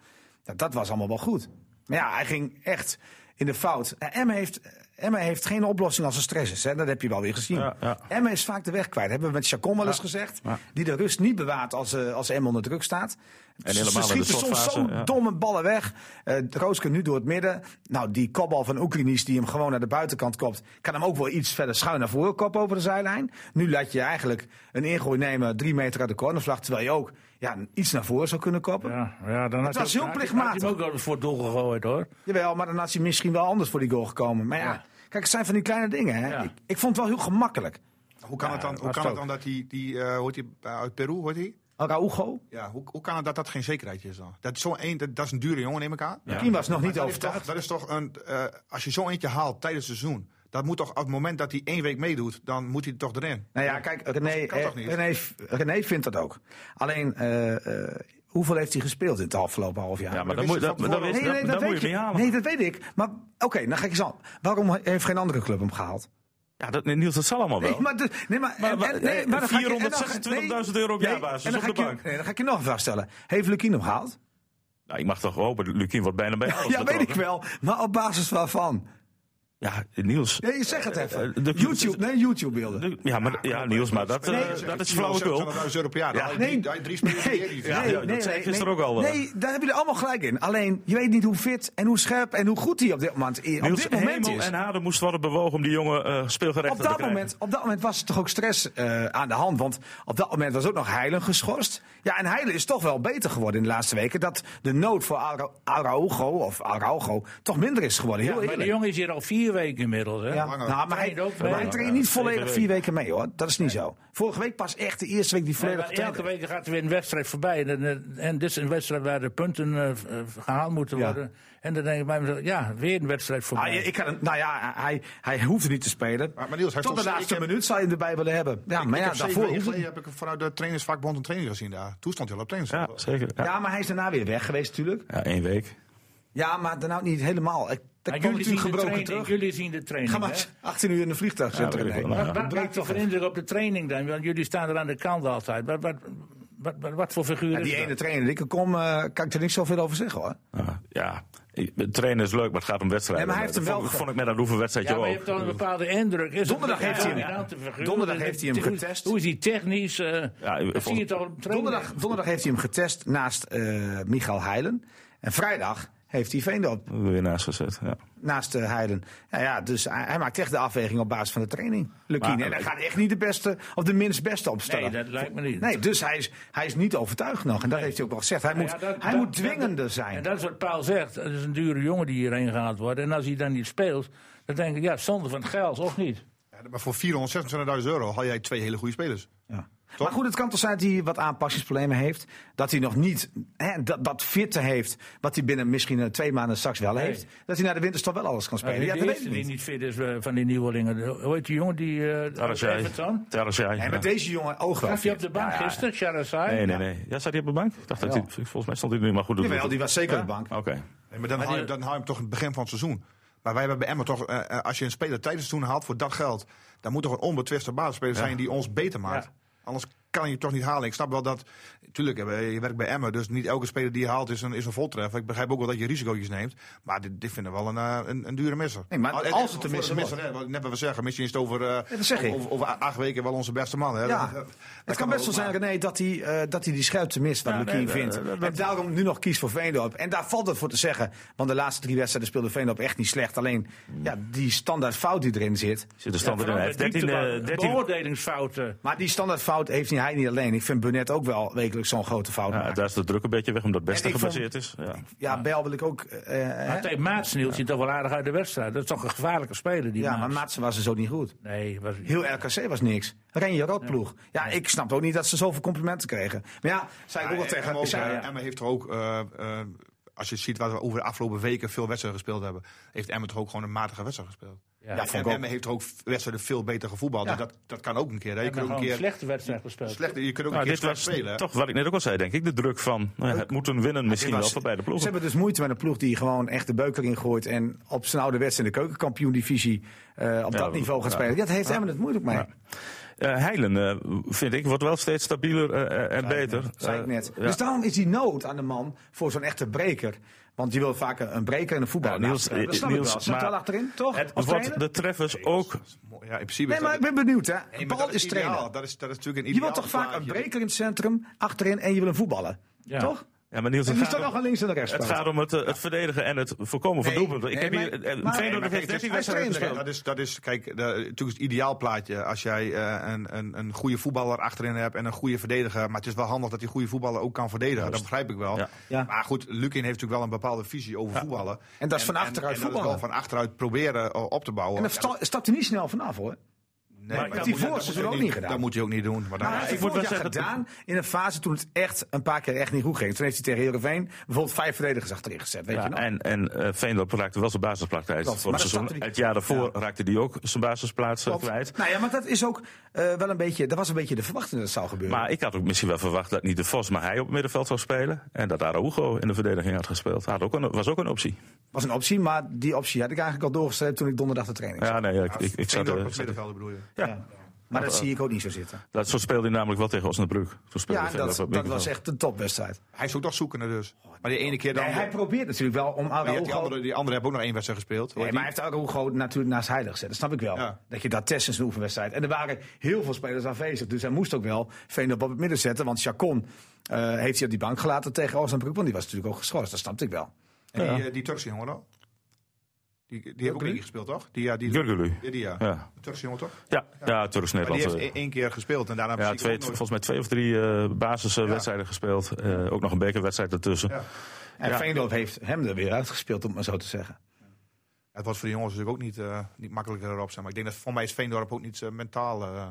S3: Ja, dat was allemaal wel goed. Maar ja, hij ging echt in de fout. En Emma heeft, Emma heeft geen oplossing als er stress is. Hè? Dat heb je wel weer gezien.
S2: Ja, ja.
S3: Emma is vaak de weg kwijt. Hebben we met Chacon wel eens gezegd. Die de rust niet bewaart als, eh, als Emma onder druk staat. En
S2: helemaal
S3: ze
S2: in de
S3: schieten soms
S2: slotfase,
S3: zo'n
S2: ja.
S3: domme ballen weg. Eh Roosken nu door het midden. Nou, die kopbal van Oeklinis die hem gewoon naar de buitenkant kopt... kan hem ook wel iets verder schuin naar voren kop over de zijlijn. Nu laat je eigenlijk een ingooi nemen drie meter uit de cornervlag... terwijl je ook ja, iets naar voren zou kunnen koppen.
S4: Ja, ja, dan had
S3: was
S4: hij-
S3: heel
S4: had hij-
S3: plichtmatig.
S4: had hij hem ook wel voor het doel gegooid hoor.
S3: Jawel, maar dan had hij misschien wel anders voor die goal gekomen. Maar ja,
S4: Ja.
S3: kijk, het zijn van die kleine dingen. Hè?
S4: Ja.
S3: Ik, ik vond het wel heel gemakkelijk.
S5: Hoe kan het dan, hoe kan het dan dat die, die eh, hoort die eh, uit Peru, hoort hij?
S3: Araujo,
S5: Ja, hoe, hoe kan het dat dat geen zekerheidje is dan? Dat is, zo een, dat, dat is een dure jongen, neem ik aan.
S3: Lukien was nog
S5: Maar
S3: niet
S5: dat is,
S3: overtuigd.
S5: toch, dat is toch een. eh, als je zo eentje haalt tijdens het seizoen. Dat moet toch op het moment dat hij één week meedoet, dan moet hij er toch erin.
S3: Nou ja, kijk, René,
S5: kan toch
S3: eh,
S5: niet?
S3: René, René vindt dat ook. Alleen, eh, eh, hoeveel heeft hij gespeeld in het afgelopen half jaar?
S2: ja, maar dan
S5: dat
S2: moet,
S5: wist je
S2: dat,
S5: van
S2: dat,
S5: tevoren.
S2: wist- dat, dat moet
S3: weet
S2: je niet
S3: ik. nou,
S2: halen.
S3: Nee, dat weet ik. Maar oké, dan ga ik eens aan. Waarom heeft geen andere club hem gehaald?
S2: Ja, dat, nee, Niels, dat zal allemaal wel.
S3: Nee, maar, de- nee, maar,
S2: Maar-
S3: en-
S2: maar-
S3: en- nee, maar dan ga ik- en dan ga-
S2: 426.000 euro op
S3: nee,
S2: jaarbasis
S3: en dan
S2: op de
S3: ga ik je-
S2: bank.
S3: nee, dan ga ik je nog een vraag stellen. Heeft Lukien hem gehaald?
S2: Nou, ik mag toch hopen, Lukien wordt bijna bij alles
S3: ja, weet ik
S2: betrokken.
S3: wel. Maar op basis waarvan?
S2: Ja, Niels.
S3: Nee, zeg het even.
S2: eh, de-
S3: YouTube, nee, YouTube-beelden.
S2: de- Ja, maar, ja, Niels, maar dat, eh, dat is flauwekul.
S5: 700.000 euro per jaar. Dan
S2: Ja.
S5: haal je
S3: Nee,
S5: drie- dan haal je drie spelers per
S3: nee,
S5: jaar.
S2: Ja,
S3: nee,
S2: ja, dat
S3: nee,
S2: zei ik
S3: nee,
S2: gisteren ook al, eh.
S3: Nee, daar hebben jullie allemaal gelijk in. Alleen, je weet niet hoe fit en hoe scherp en hoe goed hij op dit moment, op
S2: Niels,
S3: dit moment
S2: Hemel
S3: is.
S2: en Hade moest worden bewogen om die jongen eh speelgerecht
S3: Op
S2: te
S3: dat,
S2: krijgen.
S3: moment, op dat moment was er toch ook stress eh, aan de hand. Want op dat moment was ook nog Heilen geschorst. Ja, en Heilen is toch wel beter geworden in de laatste weken. Dat de nood voor Ara- Araujo of Araujo toch minder is geworden. Heel
S4: Maar de
S3: eerlijk.
S4: jongen is hier al vier weken inmiddels. Hè?
S3: Ja,
S5: langer.
S3: nou, maar hij,
S4: Traint ook
S3: maar hij
S4: mee.
S3: traint niet
S2: Zeven
S3: volledig vier
S2: weken.
S3: weken mee hoor. Dat is niet zo. Vorige week pas echt de eerste week die
S4: Nee,
S3: volledig
S4: maar elke
S3: getraind werd.
S4: week gaat er weer een wedstrijd voorbij. En, eh, en dit is een wedstrijd waar de punten eh, v- eh, gehaald moeten
S3: Ja.
S4: worden. En dan denk ik bij mezelf, ja, weer een wedstrijd
S3: Ah,
S4: voorbij.
S3: ja, ik kan, hem- nou ja, hij, hij hoefde niet te spelen.
S5: Maar- maar Niels, hij
S3: Tot de
S5: stond-
S3: laatste
S5: ik heb-
S3: minuut zou je hem erbij willen hebben. Ja, maar ja,
S5: ik heb zeven
S3: daarvoor
S5: weken
S3: hoefde
S5: geleden heb ik hem vanuit de trainersvakbond een trainer gezien daar. Toen stond hij al op
S2: Ja,
S5: trainingsvak.
S2: zeker. Ja,
S3: Ja, maar hij is daarna weer weg geweest natuurlijk.
S2: Ja, één week.
S3: Ja, maar daarna ook niet helemaal. Ik, dat
S4: Maar dus
S3: komt
S4: jullie, zien
S3: natuurlijk
S4: de
S3: gebroken
S4: training,
S3: terug.
S4: jullie zien de training.
S3: Ga
S4: hè?
S3: maar 18 uur in een vliegtuig zitten.
S2: weet ik
S3: René.
S2: wel. Nou,
S4: Wat- Wat maakt het voor indruk op de training dan? Want jullie staan er aan de kant altijd. Wat, wat, wat, wat, wat voor figuur
S3: Ja,
S4: is
S3: die
S4: dat?
S3: ene trainer die ik er kom, eh, kan ik er niks zoveel over zeggen hoor.
S2: Ja, ja. Ik- de trainen is leuk, maar het gaat om wedstrijden.
S3: Nee, maar hij heeft
S2: Dat
S3: hem wel
S2: vond, ik-
S3: ge-
S2: vond ik met dat oefenwedstrijdje
S4: Ja, maar je
S2: ook.
S4: hebt dan een bepaalde indruk. Is
S3: Donderdag
S4: het-
S3: heeft hij hem-
S4: Ja, een figuur?
S3: donderdag
S4: En
S3: heeft hij hem
S4: hoe-
S3: getest.
S4: Hoe is hij technisch? eh,
S2: Ja,
S4: dat zie je
S2: volgens-
S4: toch op training?
S3: Donderdag, donderdag heeft hij hem getest naast eh Michael Heilen. En vrijdag heeft hij Veendorp
S2: Weer naast gezet, ja.
S3: naast eh, Heilen. Ja, ja, dus hij, hij maakt echt de afweging op basis van de training. Lukien.
S2: Maar-
S3: En hij gaat echt niet de beste of de minst beste opstellen.
S4: Nee, dat lijkt me niet.
S3: Nee, dus hij is, hij is niet overtuigd nog. En dat heeft hij ook wel gezegd. Hij moet,
S4: Nou Ja, dat-
S3: hij
S4: dat-
S3: moet dwingender
S4: dat-
S3: zijn.
S4: En dat is wat Paul zegt. Het is een dure jongen die hierheen gehaald wordt. En als hij dan niet speelt, dan denk ik, ja, zonde van het geld, of niet?
S5: Ja, Maar voor 426.000 euro haal jij twee hele goede spelers.
S3: Ja. Maar goed, het kan toch zijn dat hij wat aanpassingsproblemen heeft. Dat hij nog niet hè, dat, dat fitte heeft. Wat hij binnen misschien eh, twee maanden straks wel heeft. Dat hij na de winterstop wel alles kan spelen.
S4: Die
S3: Ja, dat weet
S4: eerste
S3: ik
S4: die
S3: niet.
S4: niet fit is eh, van die nieuwelingen. Hoe heet die jongen die... eh uit
S2: Tarasjai.
S4: Everton?
S2: Tarasjai,
S3: En
S2: ja.
S3: met deze jongen oog wel.
S4: Gaf hij op
S3: fit.
S4: de bank gisteren, Charazai?
S2: Nee, nee, nee. Ja, zat hij op de bank? Ik dacht dat hij, volgens mij stond hij nu maar goed op de
S3: Jawel, die was zeker
S2: Ja?
S3: op de bank.
S2: Oké.
S5: Nee, maar dan, haal je, dan haal je hem toch in het begin van het seizoen. Maar wij hebben bij Emmen toch, eh, eh, als je een speler tijdens het seizoen haalt voor dat geld, dan moet toch een onbetwiste basisspeler zijn die ons beter maakt.
S4: Ja.
S5: Anders kan je het toch niet halen. Ik snap wel dat, natuurlijk, je werkt bij Emmen, dus niet elke speler die je haalt is een, is een voltreffer. Ik begrijp ook wel dat je risico's neemt, maar dit, dit vinden we wel een, eh, een, een dure misser.
S3: Nee, maar
S5: Al-
S3: als
S5: eh,
S3: het een
S5: voor
S3: misser
S5: hè, wat- Net wat we zeggen, misschien is het over, eh,
S3: dat zeg ik.
S5: over, over acht weken wel onze beste man. Hè.
S3: Ja. eh,
S5: Dat- dat- dat
S3: Het kan
S5: we
S3: best wel
S5: ook
S3: zijn,
S5: maken.
S3: René, dat hij, eh, dat hij die schuimte mist wat Lukien vindt. en daarom nu nog kiest voor Veendorp. En daar valt het voor te zeggen. Want de laatste drie wedstrijden speelde Veendorp echt niet slecht. Alleen ja, die standaard fout die erin zit.
S2: Zit de stand
S4: Ja,
S2: erin. Hij
S4: vooral
S2: heeft
S4: met
S2: 13,
S4: diepteballen,
S2: eh, 13
S4: Beoordelingsfouten.
S3: Maar die standaardfout heeft hij niet alleen. Ik vind Burnett ook wel wekelijks zo'n grote fout.
S2: ja,
S3: maken.
S2: daar is de druk een beetje weg, omdat het beste
S3: En ik vond-
S2: gebaseerd is. Ja. Ah,
S3: Ja, Bel wil ik ook. eh, hè?
S4: Maar tegen Maats Niels ziet toch wel aardig uit de wedstrijd. Dat is toch een gevaarlijke speler, die
S3: ja, maar
S4: Maats.
S3: Maatsen was er zo niet goed.
S4: Nee, was...
S3: Heel RKC was niks. Renje Rotploeg. Ja, ik snap ook niet dat ze zoveel complimenten kregen. Maar ja, zei ik ook wel
S5: Ja, Emma
S3: tegen.
S5: ook,
S3: ik zei-
S5: eh,
S4: ja.
S5: Emma heeft toch ook, eh, eh, als je ziet waar we over de afgelopen weken veel wedstrijden gespeeld hebben, heeft Emma toch ook gewoon een matige wedstrijd gespeeld.
S4: Ja,
S3: Ja,
S5: En
S3: vond ik ook.
S5: Emma heeft toch ook wedstrijden veel beter gevoetbald.
S3: Ja.
S5: En dat, dat kan ook een keer. Hè. Je
S4: hebben
S5: kunt ook een
S4: gewoon een
S5: keer
S4: slechte wedstrijd gespeeld.
S5: slecht, je kunt ook
S2: Nou,
S5: een keer
S2: dit
S5: slecht
S2: was
S5: spelen.
S2: toch wat ik net ook al zei, denk ik. De druk van eh, het moeten winnen misschien
S3: was-
S2: wel voor beide
S3: Ze
S2: ploegen.
S3: hebben dus moeite met een ploeg die gewoon echt de beuker ingooit. en op zijn oude wedstrijd in de keukenkampioen-divisie. eh, op
S2: Ja,
S3: dat niveau gaat
S2: ja.
S3: spelen. Ja, dat heeft hem het moeilijk mee.
S2: Eh, Heilen, eh, vind ik, wordt wel steeds stabieler eh, eh, en beter.
S3: zei ik
S2: Eh,
S3: net.
S2: ja.
S3: Dus daarom is die nood aan de man voor zo'n echte breker. Want je wil vaak een een breker en een voetballer.
S2: Ja, Niels,
S3: naast elkaar. dat snap
S2: eh,
S3: ik wel.
S2: Niels,
S3: Zat
S2: maar
S3: wel achterin, toch?
S2: Het
S3: Als
S2: wordt
S3: trainer?
S2: de treffers ook
S5: Mooi, Ja, in principe
S3: Nee,
S5: is
S3: maar ik
S5: dat-
S3: ben benieuwd, hè?
S5: Nee, maar
S3: Bal
S5: dat
S3: is trainer.
S5: ideaal. Dat is, dat is natuurlijk een
S3: Je
S5: ideaal
S3: wilt toch vaak een
S5: plaatje.
S3: breker in het centrum, achterin en je wil een voetballen.
S4: Ja.
S3: Toch?
S2: Ja, maar Niels,
S3: En
S2: het
S3: die
S2: gaat,
S3: staat nog
S2: om,
S3: aan links en aan rechts.
S2: het gaat om het, eh, het verdedigen en het voorkomen van
S3: Nee,
S2: doelpunten. Ik
S3: nee,
S2: heb
S3: maar-
S2: hier... eh,
S3: maar-
S2: Feyenoord heeft
S3: maar kijk, het is-
S2: 13
S3: hij is
S2: wedstrijden
S3: trainer,
S2: gespeeld.
S5: Dat is, dat is, kijk, de, natuurlijk is het ideaal plaatje als jij eh, een, een, een goede voetballer achterin hebt en een goede verdediger. Maar het is wel handig dat die goede voetballer ook kan verdedigen. Dat begrijp ik wel.
S2: Ja.
S3: Ja.
S5: Maar goed, Lukin heeft natuurlijk wel een bepaalde visie over voetballen.
S3: En dat is van achteruit
S5: en dat is
S3: voetballen.
S5: wel van achteruit proberen eh, op te bouwen.
S3: En dan
S5: Ja,
S3: sta- stapt hij niet snel vanaf hoor.
S5: nee, maar
S3: dat
S5: dat
S3: die
S5: moet je-
S3: voorste
S5: dat
S3: is
S5: moet je
S3: ook niet gedaan.
S5: Dat moet je ook niet doen. Maar
S3: Maar
S5: dan,
S3: hij heeft
S2: ik
S3: het
S2: moet
S3: vorig
S2: wel
S3: jaar
S2: zeggen
S3: gedaan in een fase toen het echt een paar keer echt niet goed ging. Toen heeft hij tegen Heerenveen bijvoorbeeld vijf verdedigers achterin gezet. Weet je
S2: Ja,
S3: nog?
S2: en en eh Veendorp raakte wel zijn basisplaats kwijt
S3: Klopt,
S2: voor
S3: maar
S2: het
S3: dat
S2: seizoen.
S3: snapte hij.
S2: Het jaar daarvoor raakte hij ook zijn basisplaats eh,
S3: Klopt.
S2: kwijt.
S3: Nou ja, maar dat is ook eh, wel een beetje, dat was een beetje de verwachting dat het zou gebeuren.
S2: Maar ik had ook misschien wel verwacht dat niet de Vos, maar hij op het middenveld zou spelen. En dat Araujo in de verdediging had gespeeld. Had ook een, was ook een optie.
S3: was een optie, maar die optie had ik eigenlijk al doorgestreept toen ik donderdag de training zat.
S2: Ja, nee, ja, ik, ik, ik zat,
S5: Eendorp
S2: eh,
S5: als middenvelder bedoel je.
S3: Ja. Maar dat zie ik ook niet zo zitten.
S2: dat, zo speelde hij namelijk wel tegen Osnabrück. Toen speelde
S3: Ja,
S2: hij verder
S3: dat,
S2: op
S3: dat was
S2: middenveld.
S3: echt een topwedstrijd.
S5: Hij is ook nog zoekende dus. Maar die ene keer dan...
S3: Nee, hij probeert natuurlijk wel om
S5: die, die,
S3: Araujo...
S5: andere, die andere hebben ook nog één wedstrijd gespeeld.
S3: Nee, maar hij heeft Araujo natuurlijk naast Heilig gezet. Dat snap ik wel.
S5: Ja.
S3: Dat je daar test is een oefenwedstrijd. En er waren heel veel spelers aanwezig. Dus hij moest ook wel Veendorp op het midden zetten. Want Chacon eh, heeft hij op die bank gelaten tegen Osnabrück. Want die was natuurlijk ook geschorst. Dat snapte ik wel.
S5: En die, eh, die Turkse jongen dan? Die, die heeft ook niet gespeeld, toch? Die, ja, die,
S2: Gurgulu.
S5: Ja, die, ja.
S2: Ja,
S5: De Turkse jongen, toch?
S2: ja, ja
S5: Maar die
S2: Turks-Nederland.
S5: heeft
S2: eh,
S5: één- één keer gespeeld en daarna
S2: Ja,
S5: precies
S2: twee,
S5: ook nooit-
S2: volgens mij twee of drie eh, basiswedstrijden gespeeld. Eh, ook nog een bekerwedstrijd ertussen.
S5: Ja.
S3: En
S2: Ja.
S3: Veendorp heeft hem er weer uitgespeeld, om het maar zo te zeggen.
S5: Het was voor de jongens natuurlijk ook niet, eh, niet makkelijker erop zijn. Maar ik denk dat voor mij is Veendorp ook niet eh, mentaal... eh, dat hij daar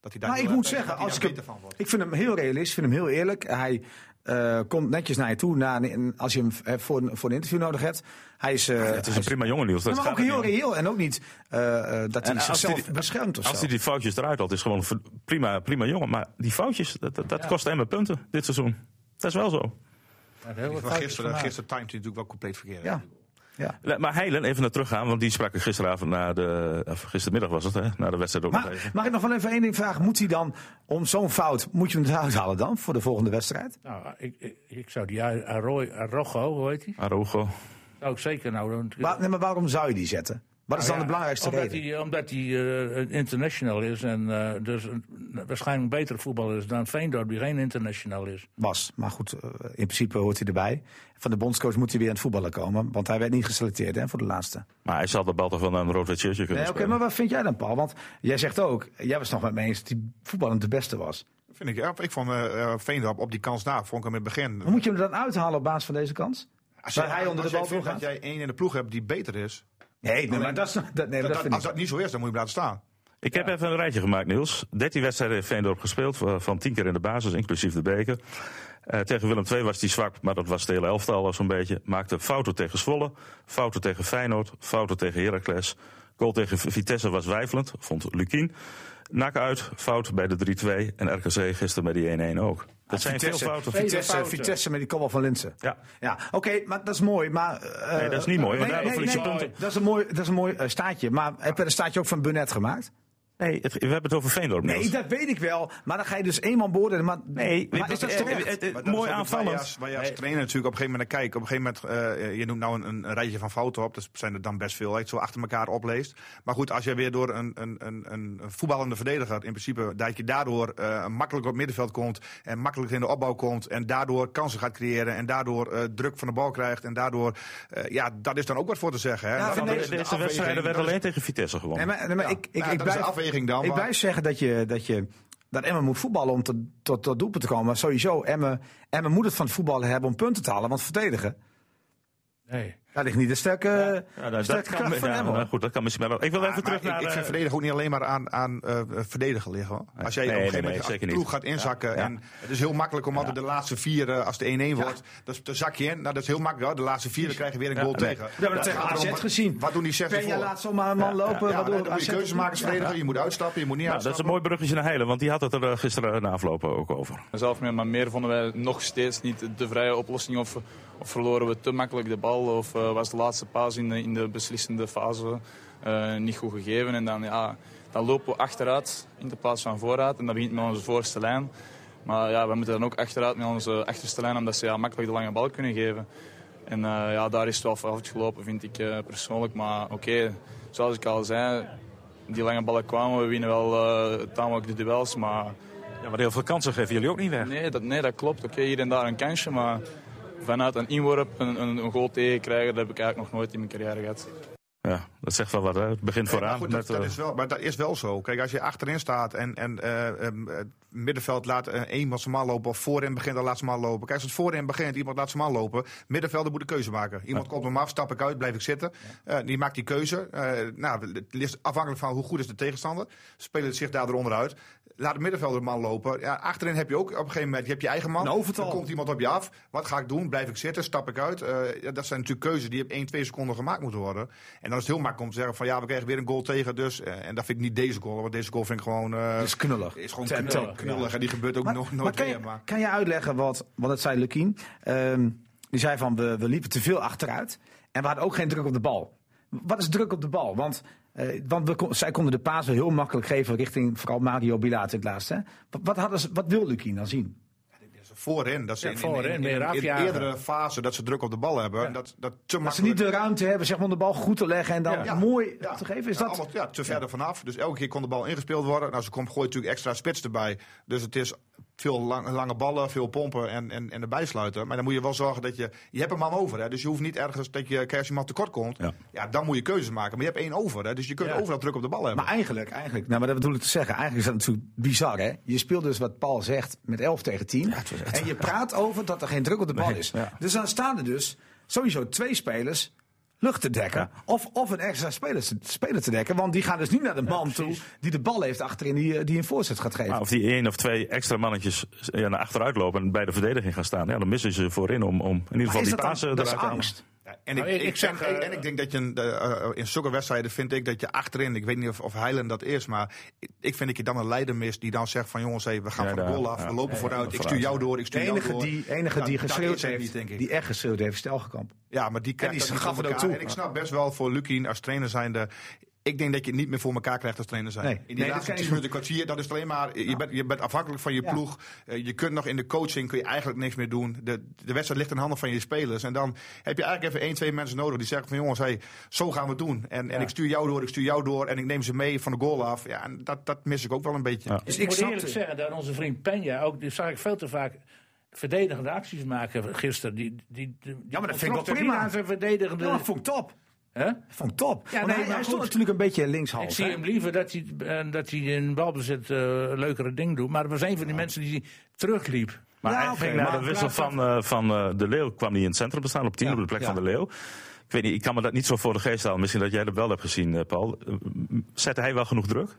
S3: Maar
S5: heel
S3: Nou, ik
S5: erg-
S3: moet
S5: dat hij
S3: zeggen,
S5: daar
S3: als ik,
S5: beter
S3: hem-
S5: van wordt.
S3: ik vind hem heel realistisch, vind hem heel eerlijk. Hij eh, komt netjes naar je toe na, een- als je hem eh, voor, een- voor een interview nodig hebt. Hij is, eh,
S2: Het
S3: hij
S2: is een prima jongen, Niels. Dat
S3: Ja, maar
S2: gaat
S3: ook
S2: het
S3: heel
S2: niet om.
S3: reëel. En ook niet eh, eh,
S2: En
S3: dat hij
S2: als
S3: zichzelf
S2: die-
S3: beschermt of
S2: Als
S3: zo.
S2: hij die foutjes eruit had, is gewoon een ver- prima, prima jongen. Maar die foutjes, dat, dat, dat kost Emmen punten dit seizoen. Dat is wel zo.
S4: Maar heel
S5: Van
S4: wat foutjes
S5: gisteren,
S4: gemaakt.
S5: gisteren timed hij natuurlijk wel compleet verkeerd.
S3: Ja.
S2: Le- Maar Heilen, even naar teruggaan, want die sprak ik gisteravond na de. Of gistermiddag was het, hè? Na de wedstrijd ook nog
S3: Maar
S2: even.
S3: mag ik nog wel even één ding vragen? Moet hij dan, om zo'n fout, moet je hem eruit halen dan voor de volgende wedstrijd?
S4: Nou, ik, ik, ik zou die Ar- Arroy- Arrojo, hoe heet die?
S2: Arogo.
S4: Zou ik zeker nou doen.
S3: Waar- nee, maar waarom zou je die zetten? Wat is dan
S4: Nou ja,
S3: de belangrijkste
S4: omdat
S3: reden?
S4: Hij, omdat hij eh, een international is en eh, dus een- waarschijnlijk een betere voetballer is dan Veendorp, die geen international is.
S3: was. Maar goed, eh, in principe hoort hij erbij. Van de bondscoach moet hij weer aan het voetballen komen. Want hij werd niet geselecteerd hè, voor de laatste.
S2: Maar hij zal de bal toch wel naar een rood-wit shirtje kunnen
S3: Nee, Oké,
S2: spelen.
S3: maar wat vind jij dan, Paul? Want jij zegt ook, jij was nog met me eens dat die voetballend de beste was.
S5: Vind ik, ja, ik vond eh, eh, Veendorp op die kans na, vond ik hem in het begin...
S3: Maar moet je hem er dan uithalen op basis van deze kans?
S5: Als
S3: Hm? Waar
S5: jij-
S3: hij onder
S5: als
S3: de bal
S5: jij vindt
S3: doorgaat?
S5: dat jij één in de ploeg hebt die beter is...
S3: Nee, nee maar dat, is, dat, nee, maar
S5: dat-
S3: dat vind
S5: als
S3: ik.
S5: dat niet zo is, dan moet je hem laten staan.
S2: Ik heb even een rijtje gemaakt, Niels. 13 wedstrijden heeft Veendorp gespeeld, wa- van 10 keer in de basis, inclusief de beker. Eh, tegen Willem II was hij zwak, maar dat was de hele elftal al zo'n beetje. Maakte fouten tegen Zwolle, fouten tegen Feyenoord, fouten tegen Heracles. Goal tegen V- Vitesse was wijfelend, vond Lukien. Nak uit, fout bij de 3-2 en RKC gisteren bij die 1-1 ook. Dat zijn
S3: Ah, Vitesse,
S2: veel fouten.
S3: Vitesse,
S4: fouten.
S3: Vitesse met die kopbal van Linsen.
S2: Ja.
S3: Ja, oké, maar dat is mooi. Maar, eh,
S2: Nee, dat is niet mooi, want daardoor verlies je punten.
S3: Dat is een mooi, dat is een mooi eh, staartje. Maar heb je een staartje ook van Burnett gemaakt?
S2: Nee, het- we hebben het over Veendorp, Niels.
S3: Nee, dat weet ik wel. Maar dan ga je dus eenmaal beoordelen. Maar,
S2: Nee,
S3: maar is dat
S2: eh,
S3: terecht?
S2: eh, eh, eh,
S5: Maar dat
S2: Mooi
S5: is ook iets waar je
S2: aanvallend.
S5: als- Waar je als trainer natuurlijk op een gegeven moment naar kijkt. Op een gegeven moment, eh, je noemt nou een, een, een rijtje van fouten op. Dat zijn er dan best veel, als je het zo achter elkaar opleest. Maar goed, als je weer door een, een, een, een voetballende verdediger, in principe, dat je daardoor eh, makkelijk op het middenveld komt. En makkelijk in de opbouw komt. En daardoor kansen gaat creëren. En daardoor eh, druk van de bal krijgt. En daardoor, eh, ja, dat is dan ook wat voor te zeggen. Hè?
S3: Ja,
S5: Dat
S3: vind
S5: is
S3: ik-
S5: een
S2: Deze
S5: afweging.
S2: wedstrijden werden
S5: Dat is-
S2: alleen tegen Vitesse gewonnen.
S3: Nee, maar, nee, maar
S5: Ja.
S3: ik, ik,
S5: Nou,
S3: ik
S5: dat is
S3: blijf,
S5: een afweging dan,
S3: Ik
S5: maar-
S3: blijf zeggen dat je dat je dat Emmen moet voetballen om tot tot, tot doelpunt te komen. Maar sowieso, Emmen, Emmen moet het van het voetballen hebben om punten te halen. Want verdedigen,
S4: Nee.
S3: daar ligt niet de sterke,
S2: Ja, nou, dat
S3: sterke
S2: kan,
S3: kracht van
S2: ja,
S3: Emmen.
S2: nou goed, dat kan misschien wel. Ik wil even
S5: Ah, Maar
S2: terug
S5: ik,
S2: naar.
S5: ik
S2: eh,
S5: vind verdedigen ook niet alleen maar aan, aan eh, verdedigen liggen. Hoor. Als jij
S2: Nee,
S5: op een
S2: nee,
S5: gegeven
S2: nee,
S5: moment als
S2: zeker
S5: de
S2: niet.
S5: ploeg gaat inzakken.
S2: ja.
S5: En het is heel makkelijk om altijd de laatste vier, eh, als de 1-1 wordt, dat, dan zak je in. Nou, dat is heel makkelijk. Hoor. De laatste vier dan krijg je weer een goal
S2: nee.
S5: tegen.
S3: we hebben tegen AZ gezien.
S5: Wat doen die zes
S3: Penja
S5: ervoor?
S3: laat zomaar een man
S5: Ja,
S3: lopen.
S5: maar
S3: waardoor
S5: dan moet je
S3: AZ
S5: keuzes maken als verdediger. Je moet uitstappen, je moet niet
S2: nou, dat is
S5: uitstappen.
S2: een mooi bruggetje naar Heilen, want die had het er eh, gisteren na afloop ook over.
S8: Zelf meer, maar meer vonden wij nog steeds niet de vrije oplossing. Of, of verloren we te makkelijk de bal. Of eh, was de laatste paas in de, in de beslissende fase eh, niet goed gegeven. En dan, ja, dan lopen we achteruit in de plaats van vooruit. En dat begint met onze voorste lijn. Maar ja, we moeten dan ook achteruit met onze achterste lijn. Omdat ze ja, makkelijk de lange bal kunnen geven. En eh, ja, daar is het wel voor afgelopen, vind ik eh, persoonlijk. Maar oké, zoals ik al zei, die lange ballen kwamen. We winnen wel eh, tamelijk de duels, maar...
S2: Ja, maar heel veel kansen geven jullie ook niet weg.
S8: Nee, dat, nee, dat klopt. Oké, hier en daar een kansje, maar vanuit een inworp een, een, een goal tegenkrijgen, dat heb ik eigenlijk nog nooit in mijn carrière gehad.
S2: Ja, dat zegt wel wat. Hè. Het begint
S5: Maar
S2: vooraan.
S5: goed, dat,
S2: met,
S5: dat
S2: eh,
S5: is wel, maar dat is wel zo. Kijk, als je achterin staat en, en eh, em, het middenveld laat eh, één man zijn man lopen... of voorin begint, dan laat zijn man lopen. Kijk, als het voorin begint, iemand laat zijn man lopen... middenvelder moet een keuze maken. Iemand komt hem af, stap ik uit, blijf ik zitten. Eh, die maakt die keuze. Eh, nou, het ligt afhankelijk van hoe goed is de tegenstander. Spelen zich daar eronder uit. Laat de middenvelder een man lopen. Ja, achterin heb je ook op een gegeven moment je, hebt je eigen man.
S3: Een overtal.
S5: Dan komt iemand op je af. Wat ga ik doen? Blijf ik zitten? Stap ik uit? Eh, ja, dat zijn natuurlijk keuzes die op 1, 2 seconden gemaakt moeten worden. En dan is het heel makkelijk om te zeggen van ja, we krijgen weer een goal tegen. Dus, eh, en dat vind ik niet deze goal, want deze goal vind ik gewoon... eh,
S3: Dat is knullig.
S5: is gewoon
S3: Ten-
S5: knullig,
S3: ten-
S5: knullig. En die gebeurt ook
S3: Maar-
S5: nog
S3: maar
S5: nooit
S3: kan,
S5: meer.
S3: je,
S5: Maar
S3: kan je uitleggen wat, wat het zei Lukien? Ehm, Die zei van we, we liepen te veel achteruit. En we hadden ook geen druk op de bal. Wat is druk op de bal? Want, eh, want we kon- zij konden de paas heel makkelijk geven richting vooral Mario Bilaat in het laatste. hè. Wat, wat, hadden ze, wat wil Lukien dan zien?
S5: Voorin, dat ze
S4: Ja,
S5: in- in- in-
S4: voorin,
S5: in-
S4: meer
S5: in de
S4: afjagen.
S5: eerdere fase dat ze druk op de bal hebben. en Dat, dat, te
S3: Dat ze niet de ruimte hebben zeg maar, om de bal goed te leggen en dan
S5: Ja.
S3: mooi
S5: Ja.
S3: te geven. Is
S5: Ja,
S3: dat...
S5: allemaal, ja, te verder vanaf. Dus elke keer kon de bal ingespeeld worden. Nou, ze komt, gooit natuurlijk extra spits erbij. Dus het is veel lang- lange ballen, veel pompen en, en, en erbij sluiten. Maar dan moet je wel zorgen dat je... Je hebt een man over, hè. Dus je hoeft niet ergens dat je kerstjeman tekort komt.
S2: Ja.
S5: Ja. dan moet je keuzes maken. Maar je hebt één over, hè. Dus je kunt overal druk op de bal hebben.
S3: Maar eigenlijk, eigenlijk, nou, maar dat bedoel ik te zeggen. Eigenlijk is dat natuurlijk bizar, hè? Je speelt dus wat Paul zegt met 11 tegen 10. en je praat over dat er geen druk op de bal is. Dus dan staan er dus sowieso twee spelers lucht te dekken. Of, of een extra speler te, speler te dekken. Want die gaan dus niet naar de man toe die de bal heeft achterin, die, eh, die een voorzet gaat geven.
S2: Maar of die één of twee extra mannetjes ja, naar achteruit lopen en bij de verdediging gaan staan. Ja, dan missen ze voorin om, om in ieder geval
S3: is
S2: die
S3: dat dan-
S2: pasen
S3: dat is
S2: eruit te halen.
S3: angst.
S5: Ja, en,
S4: Nou,
S5: ik,
S4: ik-
S5: ik,
S4: ik zeg,
S5: en-
S4: eh,
S5: en ik denk dat je een- de, eh, in zulke wedstrijden vind ik dat je achterin, ik weet niet of, of Heilen dat is, maar ik, ik vind dat je dan een leider mist die dan zegt van jongens, hé, we gaan
S2: Ja,
S5: van de
S2: daar,
S5: goal af,
S2: ja.
S5: we lopen vooruit, ik stuur
S2: vooruit,
S5: jou door, ik
S3: De
S5: stuur jou
S3: enige
S5: door.
S3: die, enige
S5: Ja,
S3: die
S5: dat
S3: geschreeuwd
S5: is het
S3: heeft,
S5: niet, denk ik.
S3: die echt geschreeuwd heeft, is Telgekamp.
S5: Ja, maar die krijgt
S3: die
S5: dat niet
S3: gaf
S5: voor
S3: het ook
S5: elkaar.
S3: toe.
S5: En ik snap best wel voor Lukien als trainer zijnde. Ik denk dat je het niet meer voor elkaar krijgt als trainer zijn.
S3: Nee.
S5: in die
S3: Nee, dat
S5: laatste
S3: kan je
S5: tien minuten kwartier, dat is alleen maar. Je, bent, je bent afhankelijk van je
S3: Ja.
S5: ploeg. Eh, je kunt nog in de coaching kun je eigenlijk niks meer doen. De, de wedstrijd ligt in handen van je spelers. En dan heb je eigenlijk even één, twee mensen nodig die zeggen van jongens, hey, zo gaan we het doen. En, en ik stuur jou door, ik stuur jou door. En ik neem ze mee van de goal af. Ja, en dat, dat mis ik ook wel een beetje.
S2: Ja.
S3: Dus
S4: ik
S3: ik
S4: moet eerlijk
S3: snapte...
S4: zeggen dat onze vriend Penja ook, die zag ik veel te vaak verdedigende acties maken gisteren. Die, die, die-
S3: Ja, maar dat vind ik wel
S4: ontknopte
S3: prima.
S4: niet aan zijn verdedigende.
S3: Ja, vond ik top.
S4: hè?
S3: Vond ik top.
S4: Ja,
S3: Want
S4: nee,
S3: hij,
S4: maar
S3: hij stond
S4: goed.
S3: natuurlijk een beetje linkshalf.
S4: Ik zie
S3: hè?
S4: hem liever dat hij, eh, dat hij in balbezit eh leukere ding doet. Maar dat was een van die mensen die terugliep.
S2: Maar
S3: Ja,
S2: hij
S3: oké,
S2: ging naar
S3: maar-
S2: de wissel van, eh, van eh, De Leeuw kwam hij in het centrum te staan, op 10
S3: Ja,
S2: op de plek
S3: ja.
S2: van De Leeuw. Ik weet niet, ik kan me dat niet zo voor de geest halen. Misschien dat jij dat wel hebt gezien, eh, Paul. Eh, m- Zette hij wel genoeg druk?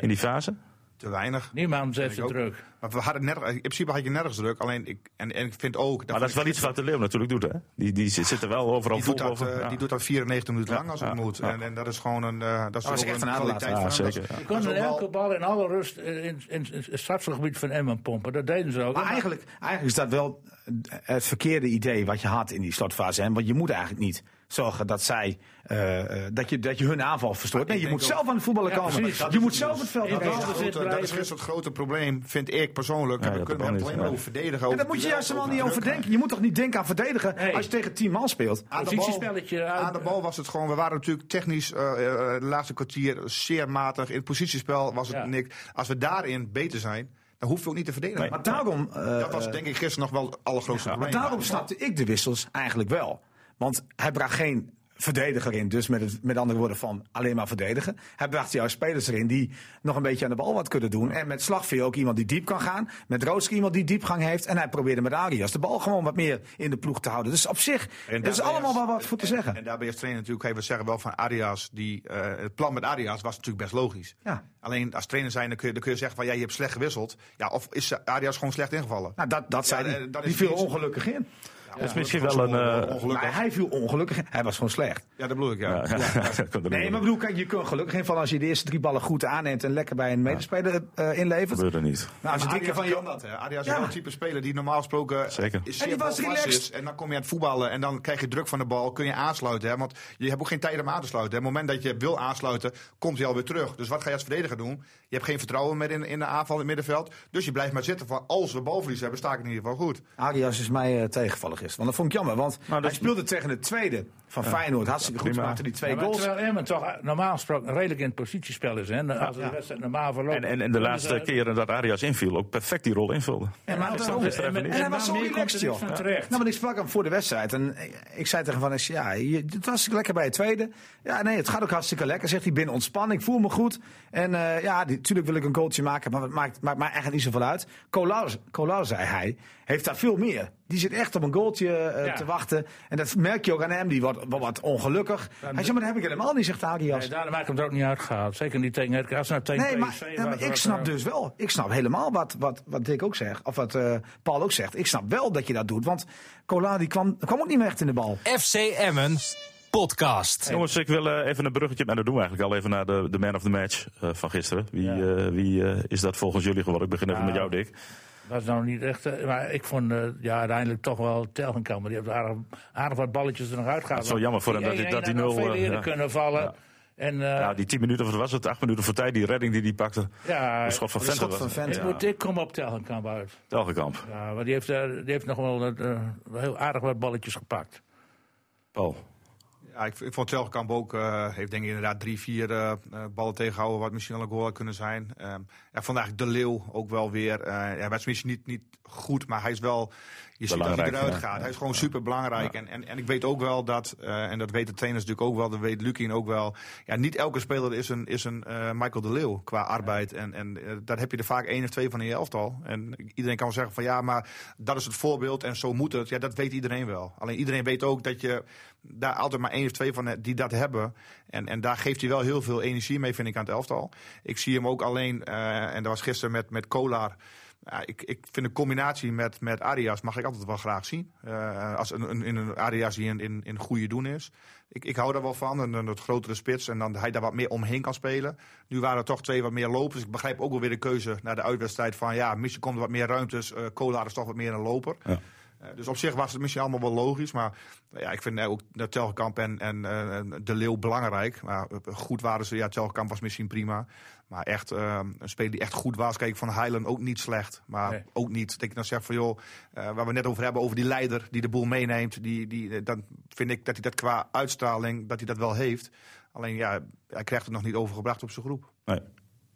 S2: In die fase?
S5: Te weinig.
S4: Niemand zet
S5: Ik
S4: ze
S5: ook.
S4: druk.
S5: Maar we hadden nergens, in principe had je nergens druk. Alleen ik, en, en ik vind ook.
S2: Maar dat is wel iets wat De Leeuw natuurlijk doet, hè? Die, die zit zit er wel overal
S5: Die doet,
S2: vol
S5: dat,
S2: over.
S5: eh,
S2: Ja.
S5: die doet dat 94 minuten
S2: Ja,
S5: lang als het
S2: ja,
S5: moet.
S2: ja.
S5: En, en dat is gewoon een, eh, dat is
S3: was
S5: toch
S3: Oh, echt
S5: een
S3: een aanlaat.
S5: kwaliteit
S2: Ja,
S5: van hem. Dat
S2: zeker,
S5: is-
S4: Je
S5: dat is
S4: kon
S5: ook wel-
S4: elke bal in alle rust eh, in, in, in het stadsgebied van Emmen pompen. Dat deden ze ook.
S3: Maar eigenlijk, eigenlijk is dat wel eh, het verkeerde idee wat je had in die slotfase. Hè? Want je moet eigenlijk niet zorgen dat zij eh, eh, dat, je, dat je hun aanval verstoort. Nee, je moet zelf aan het voetballen
S4: Ja,
S3: komen.
S4: precies. Dat
S3: je
S4: is
S3: moet
S4: het
S3: zelf
S4: dus.
S3: het veld
S4: Ja,
S3: op.
S5: dat is
S4: Wel
S5: het
S4: bezit
S5: grote- Dat is
S4: blijven.
S5: gisteren het grote probleem, vind ik persoonlijk.
S2: Ja,
S5: we
S2: dat
S5: kunnen
S2: kan
S5: het
S2: niet,
S5: alleen maar
S2: ja.
S5: over verdedigen.
S3: En
S5: over
S3: daar moet je
S5: duels,
S3: juist helemaal
S5: over
S3: niet over
S5: druk.
S3: denken. Je moet toch niet denken aan verdedigen
S4: Nee.
S3: als je tegen 10 man speelt.
S5: Aan de,
S4: Positiespelletje
S5: bal,
S4: uit-
S5: aan de bal was het gewoon. We waren natuurlijk technisch eh eh, de laatste kwartier zeer matig. In het positiespel was het
S4: Ja.
S5: niks. Als we daarin beter zijn, dan hoeven we ook niet te verdedigen.
S3: Maar daarom, eh,
S5: dat was denk ik gisteren nog wel het allergrootste
S3: maar
S5: probleem.
S3: daarom snapte ik de wissels eigenlijk wel. Want hij bracht geen verdediger in. Dus met, het, met andere woorden van alleen maar verdedigen. Hij bracht juist spelers erin die nog een beetje aan de bal wat kunnen doen. En met Slagveer ook iemand die diep kan gaan. Met Roodski iemand die diepgang heeft. En hij probeerde met Arias de bal gewoon wat meer in de ploeg te houden. Dus op zich,
S5: En
S3: er is
S5: daarbij
S3: allemaal
S5: is-
S3: wel wat voor te zeggen.
S5: En daarbij is trainer natuurlijk, hey, we zeggen wel van Arias, die, eh, het plan met Arias was natuurlijk best logisch.
S3: Ja.
S5: Alleen als trainer zijn, dan kun je, dan kun je zeggen van ja, je hebt slecht gewisseld. Ja, of is Arias gewoon slecht ingevallen?
S3: nou, dat, dat
S5: Ja,
S3: zei
S5: eh,
S3: hij.
S5: dat is
S3: Die viel
S5: iets-
S3: ongelukkig in.
S5: Ja,
S2: dat is misschien
S5: was
S2: wel een,
S5: gewoon
S2: eh,
S5: ongelukkig.
S3: Maar hij viel ongelukkig in. Hij was gewoon slecht.
S5: Ja, dat bedoel ik, ja.
S2: Ja, ja, dat komt er
S3: Nee,
S2: niet
S3: maar
S2: op.
S3: bedoel, kijk, je kunt gelukkig invallen als je de eerste drie ballen goed aanneemt en lekker bij een medespeler eh, inlevert.
S2: gebeurde niet.
S3: Nou, als je
S5: Maar
S3: drie keer
S5: Arias
S3: van
S5: kan
S3: je
S5: dat, hè. Arias
S3: Ja.
S5: is wel een type speler die normaal gesproken
S2: Zeker.
S5: is
S3: En die was
S5: balvast
S3: relaxed.
S5: is. En dan kom je aan het voetballen en dan krijg je druk van de bal, kun je aansluiten. Hè? Want je hebt ook geen tijd om aan te sluiten. Hè? Op het moment dat je wil aansluiten, komt hij alweer terug. Dus wat ga je als verdediger doen? Je hebt geen vertrouwen meer in, in de aanval in het middenveld. Dus je blijft maar zitten van als we balverlies hebben, sta ik in ieder geval goed.
S3: Arias is mij eh, tegenvallen gisteren. Want dat vond ik jammer. Want
S2: dat-
S3: hij speelde tegen de tweede van Feyenoord. Hartstikke goed.
S2: prima.
S3: Maakte die twee
S4: Nou, Ja, maar
S3: goals.
S4: terwijl Emmen toch eh, normaal gesproken redelijk in het positiespel is. Hè? En Als de wedstrijd normaal verloopt.
S2: En, en, en de laatste
S4: eh,
S2: keren dat Arias inviel, ook perfect die rol invulde.
S3: Ja, maar
S2: Gisteren-
S3: daarom.
S2: gisteren even
S4: en-
S3: En
S2: niet.
S3: hij was zo
S4: meer komt er
S3: relaxed,
S4: niks
S3: joh.
S4: van
S3: Ja.
S4: terecht.
S3: Nou, want ik sprak hem voor de wedstrijd. En eh, ik zei tegen hem van, is- ja, je- het was lekker bij je tweede. Ja, nee, het gaat ook hartstikke lekker. Zegt hij, ik ben ontspannen, ik voel me goed. En eh, ja, natuurlijk wil ik een goaltje maken, maar het maakt, maakt mij eigenlijk niet zoveel uit. Colau, Colau, zei hij, heeft daar veel meer. Die zit echt op een goaltje eh,
S4: Ja.
S3: te wachten. En dat merk je ook aan hem, die wordt wordt wat ongelukkig. Hij zei, maar dat heb ik helemaal niet, zegt Arias.
S4: Nee, daarom heb ik hem er ook niet uitgehaald. Zeker niet tegen Herk. Als hij nou tegen
S3: Nee, maar,
S4: PSV
S3: ja,
S4: was,
S3: maar ik
S4: was eh,
S3: snap
S2: eh,
S4: er-
S3: dus wel. Ik snap helemaal wat, wat, wat Dick ook zegt. Of wat eh, Paul ook zegt. Ik snap wel dat je dat doet. Want Cola die kwam, kwam ook niet meer echt in de bal.
S1: FC Emmen podcast.
S2: Jongens, ik wil eh, even een bruggetje, en dat doen we eigenlijk al even naar de, de man of the match eh, van gisteren. Wie, eh, wie eh, is dat volgens jullie geworden? Ik begin even met jou, Dick.
S4: was nou niet echt. eh, Maar ik vond eh, ja, uiteindelijk toch wel Telgenkamp. Die heeft aardig, aardig wat balletjes er nog uitgehaald.
S2: is wel jammer voor hem
S4: Die
S2: dat hij-
S4: 1-1
S2: dat hij
S4: had nog
S2: nul,
S4: veel
S2: eh,
S4: eerder
S2: ja.
S4: kunnen vallen. En eh,
S2: Ja, Nou, die 10 minuten, of wat was het? 8 minuten voor tijd, die redding die die pakte.
S4: ja,
S2: Een schot van
S3: de
S2: Venter.
S3: schot
S2: was
S3: van
S2: het.
S3: Venter.
S4: ik, moet, ik kom op Telgenkamp uit.
S2: Telgekamp.
S4: Ja, maar die heeft, eh, die heeft nog wel eh, heel aardig wat balletjes gepakt.
S2: Paul.
S5: Ja, ik, ik vond Telkamp ook, eh, heeft denk ik inderdaad drie, vier eh, eh, ballen tegengehouden, wat misschien al een goal had kunnen zijn. Ehm en vandaag De Leeuw ook wel weer. Eh ja, maar het is misschien niet, niet goed, maar hij is wel, je ziet dat hij
S2: Belangrijk,
S5: eruit
S2: ja.
S5: gaat. Hij is gewoon super belangrijk. En, en, en ik weet ook wel dat, eh, en dat weten trainers natuurlijk ook wel, dat weet Lukien ook wel. Ja, niet elke speler is een, is een eh, Michael De Leeuw qua arbeid. En, en eh, daar heb je er vaak één of twee van in je elftal. En iedereen kan wel zeggen van ja, maar dat is het voorbeeld en zo moet het. Ja, dat weet iedereen wel. Alleen iedereen weet ook dat je daar altijd maar één of twee van hebt die dat hebben. En, en daar geeft hij wel heel veel energie mee, vind ik, aan het elftal. Ik zie hem ook alleen, eh, en dat was gisteren met, met Kolar. Ja, ik, ik vind een combinatie met, met Arias mag ik altijd wel graag zien. Eh, als een, een, in een Arias die in, in, in goede doen is. Ik, ik hou daar wel van. En een wat grotere spits. En dan hij daar wat meer omheen kan spelen. Nu waren er toch twee wat meer lopers. Ik begrijp ook wel weer de keuze naar de uitwedstrijd van ja, misschien komt er wat meer ruimtes. eh Kolar is toch wat meer een loper.
S2: Ja.
S5: Eh, dus op zich was het misschien allemaal wel logisch. Maar eh, ja, ik vind eh, ook dat Telkamp en, en eh, De Leeuw belangrijk. Maar eh, goed waren ze. Ja, Telkamp was misschien prima. Maar echt eh, een speler die echt goed was. Kijk, van Highland ook niet slecht. Maar
S4: Nee.
S5: ook niet. Dat ik dan zeg van joh, eh, waar we net over hebben, over die leider die de boel meeneemt. Die, die, eh, dan vind ik dat hij dat qua uitstraling, dat hij dat wel heeft. Alleen ja, hij krijgt het nog niet overgebracht op zijn groep.
S2: Nee.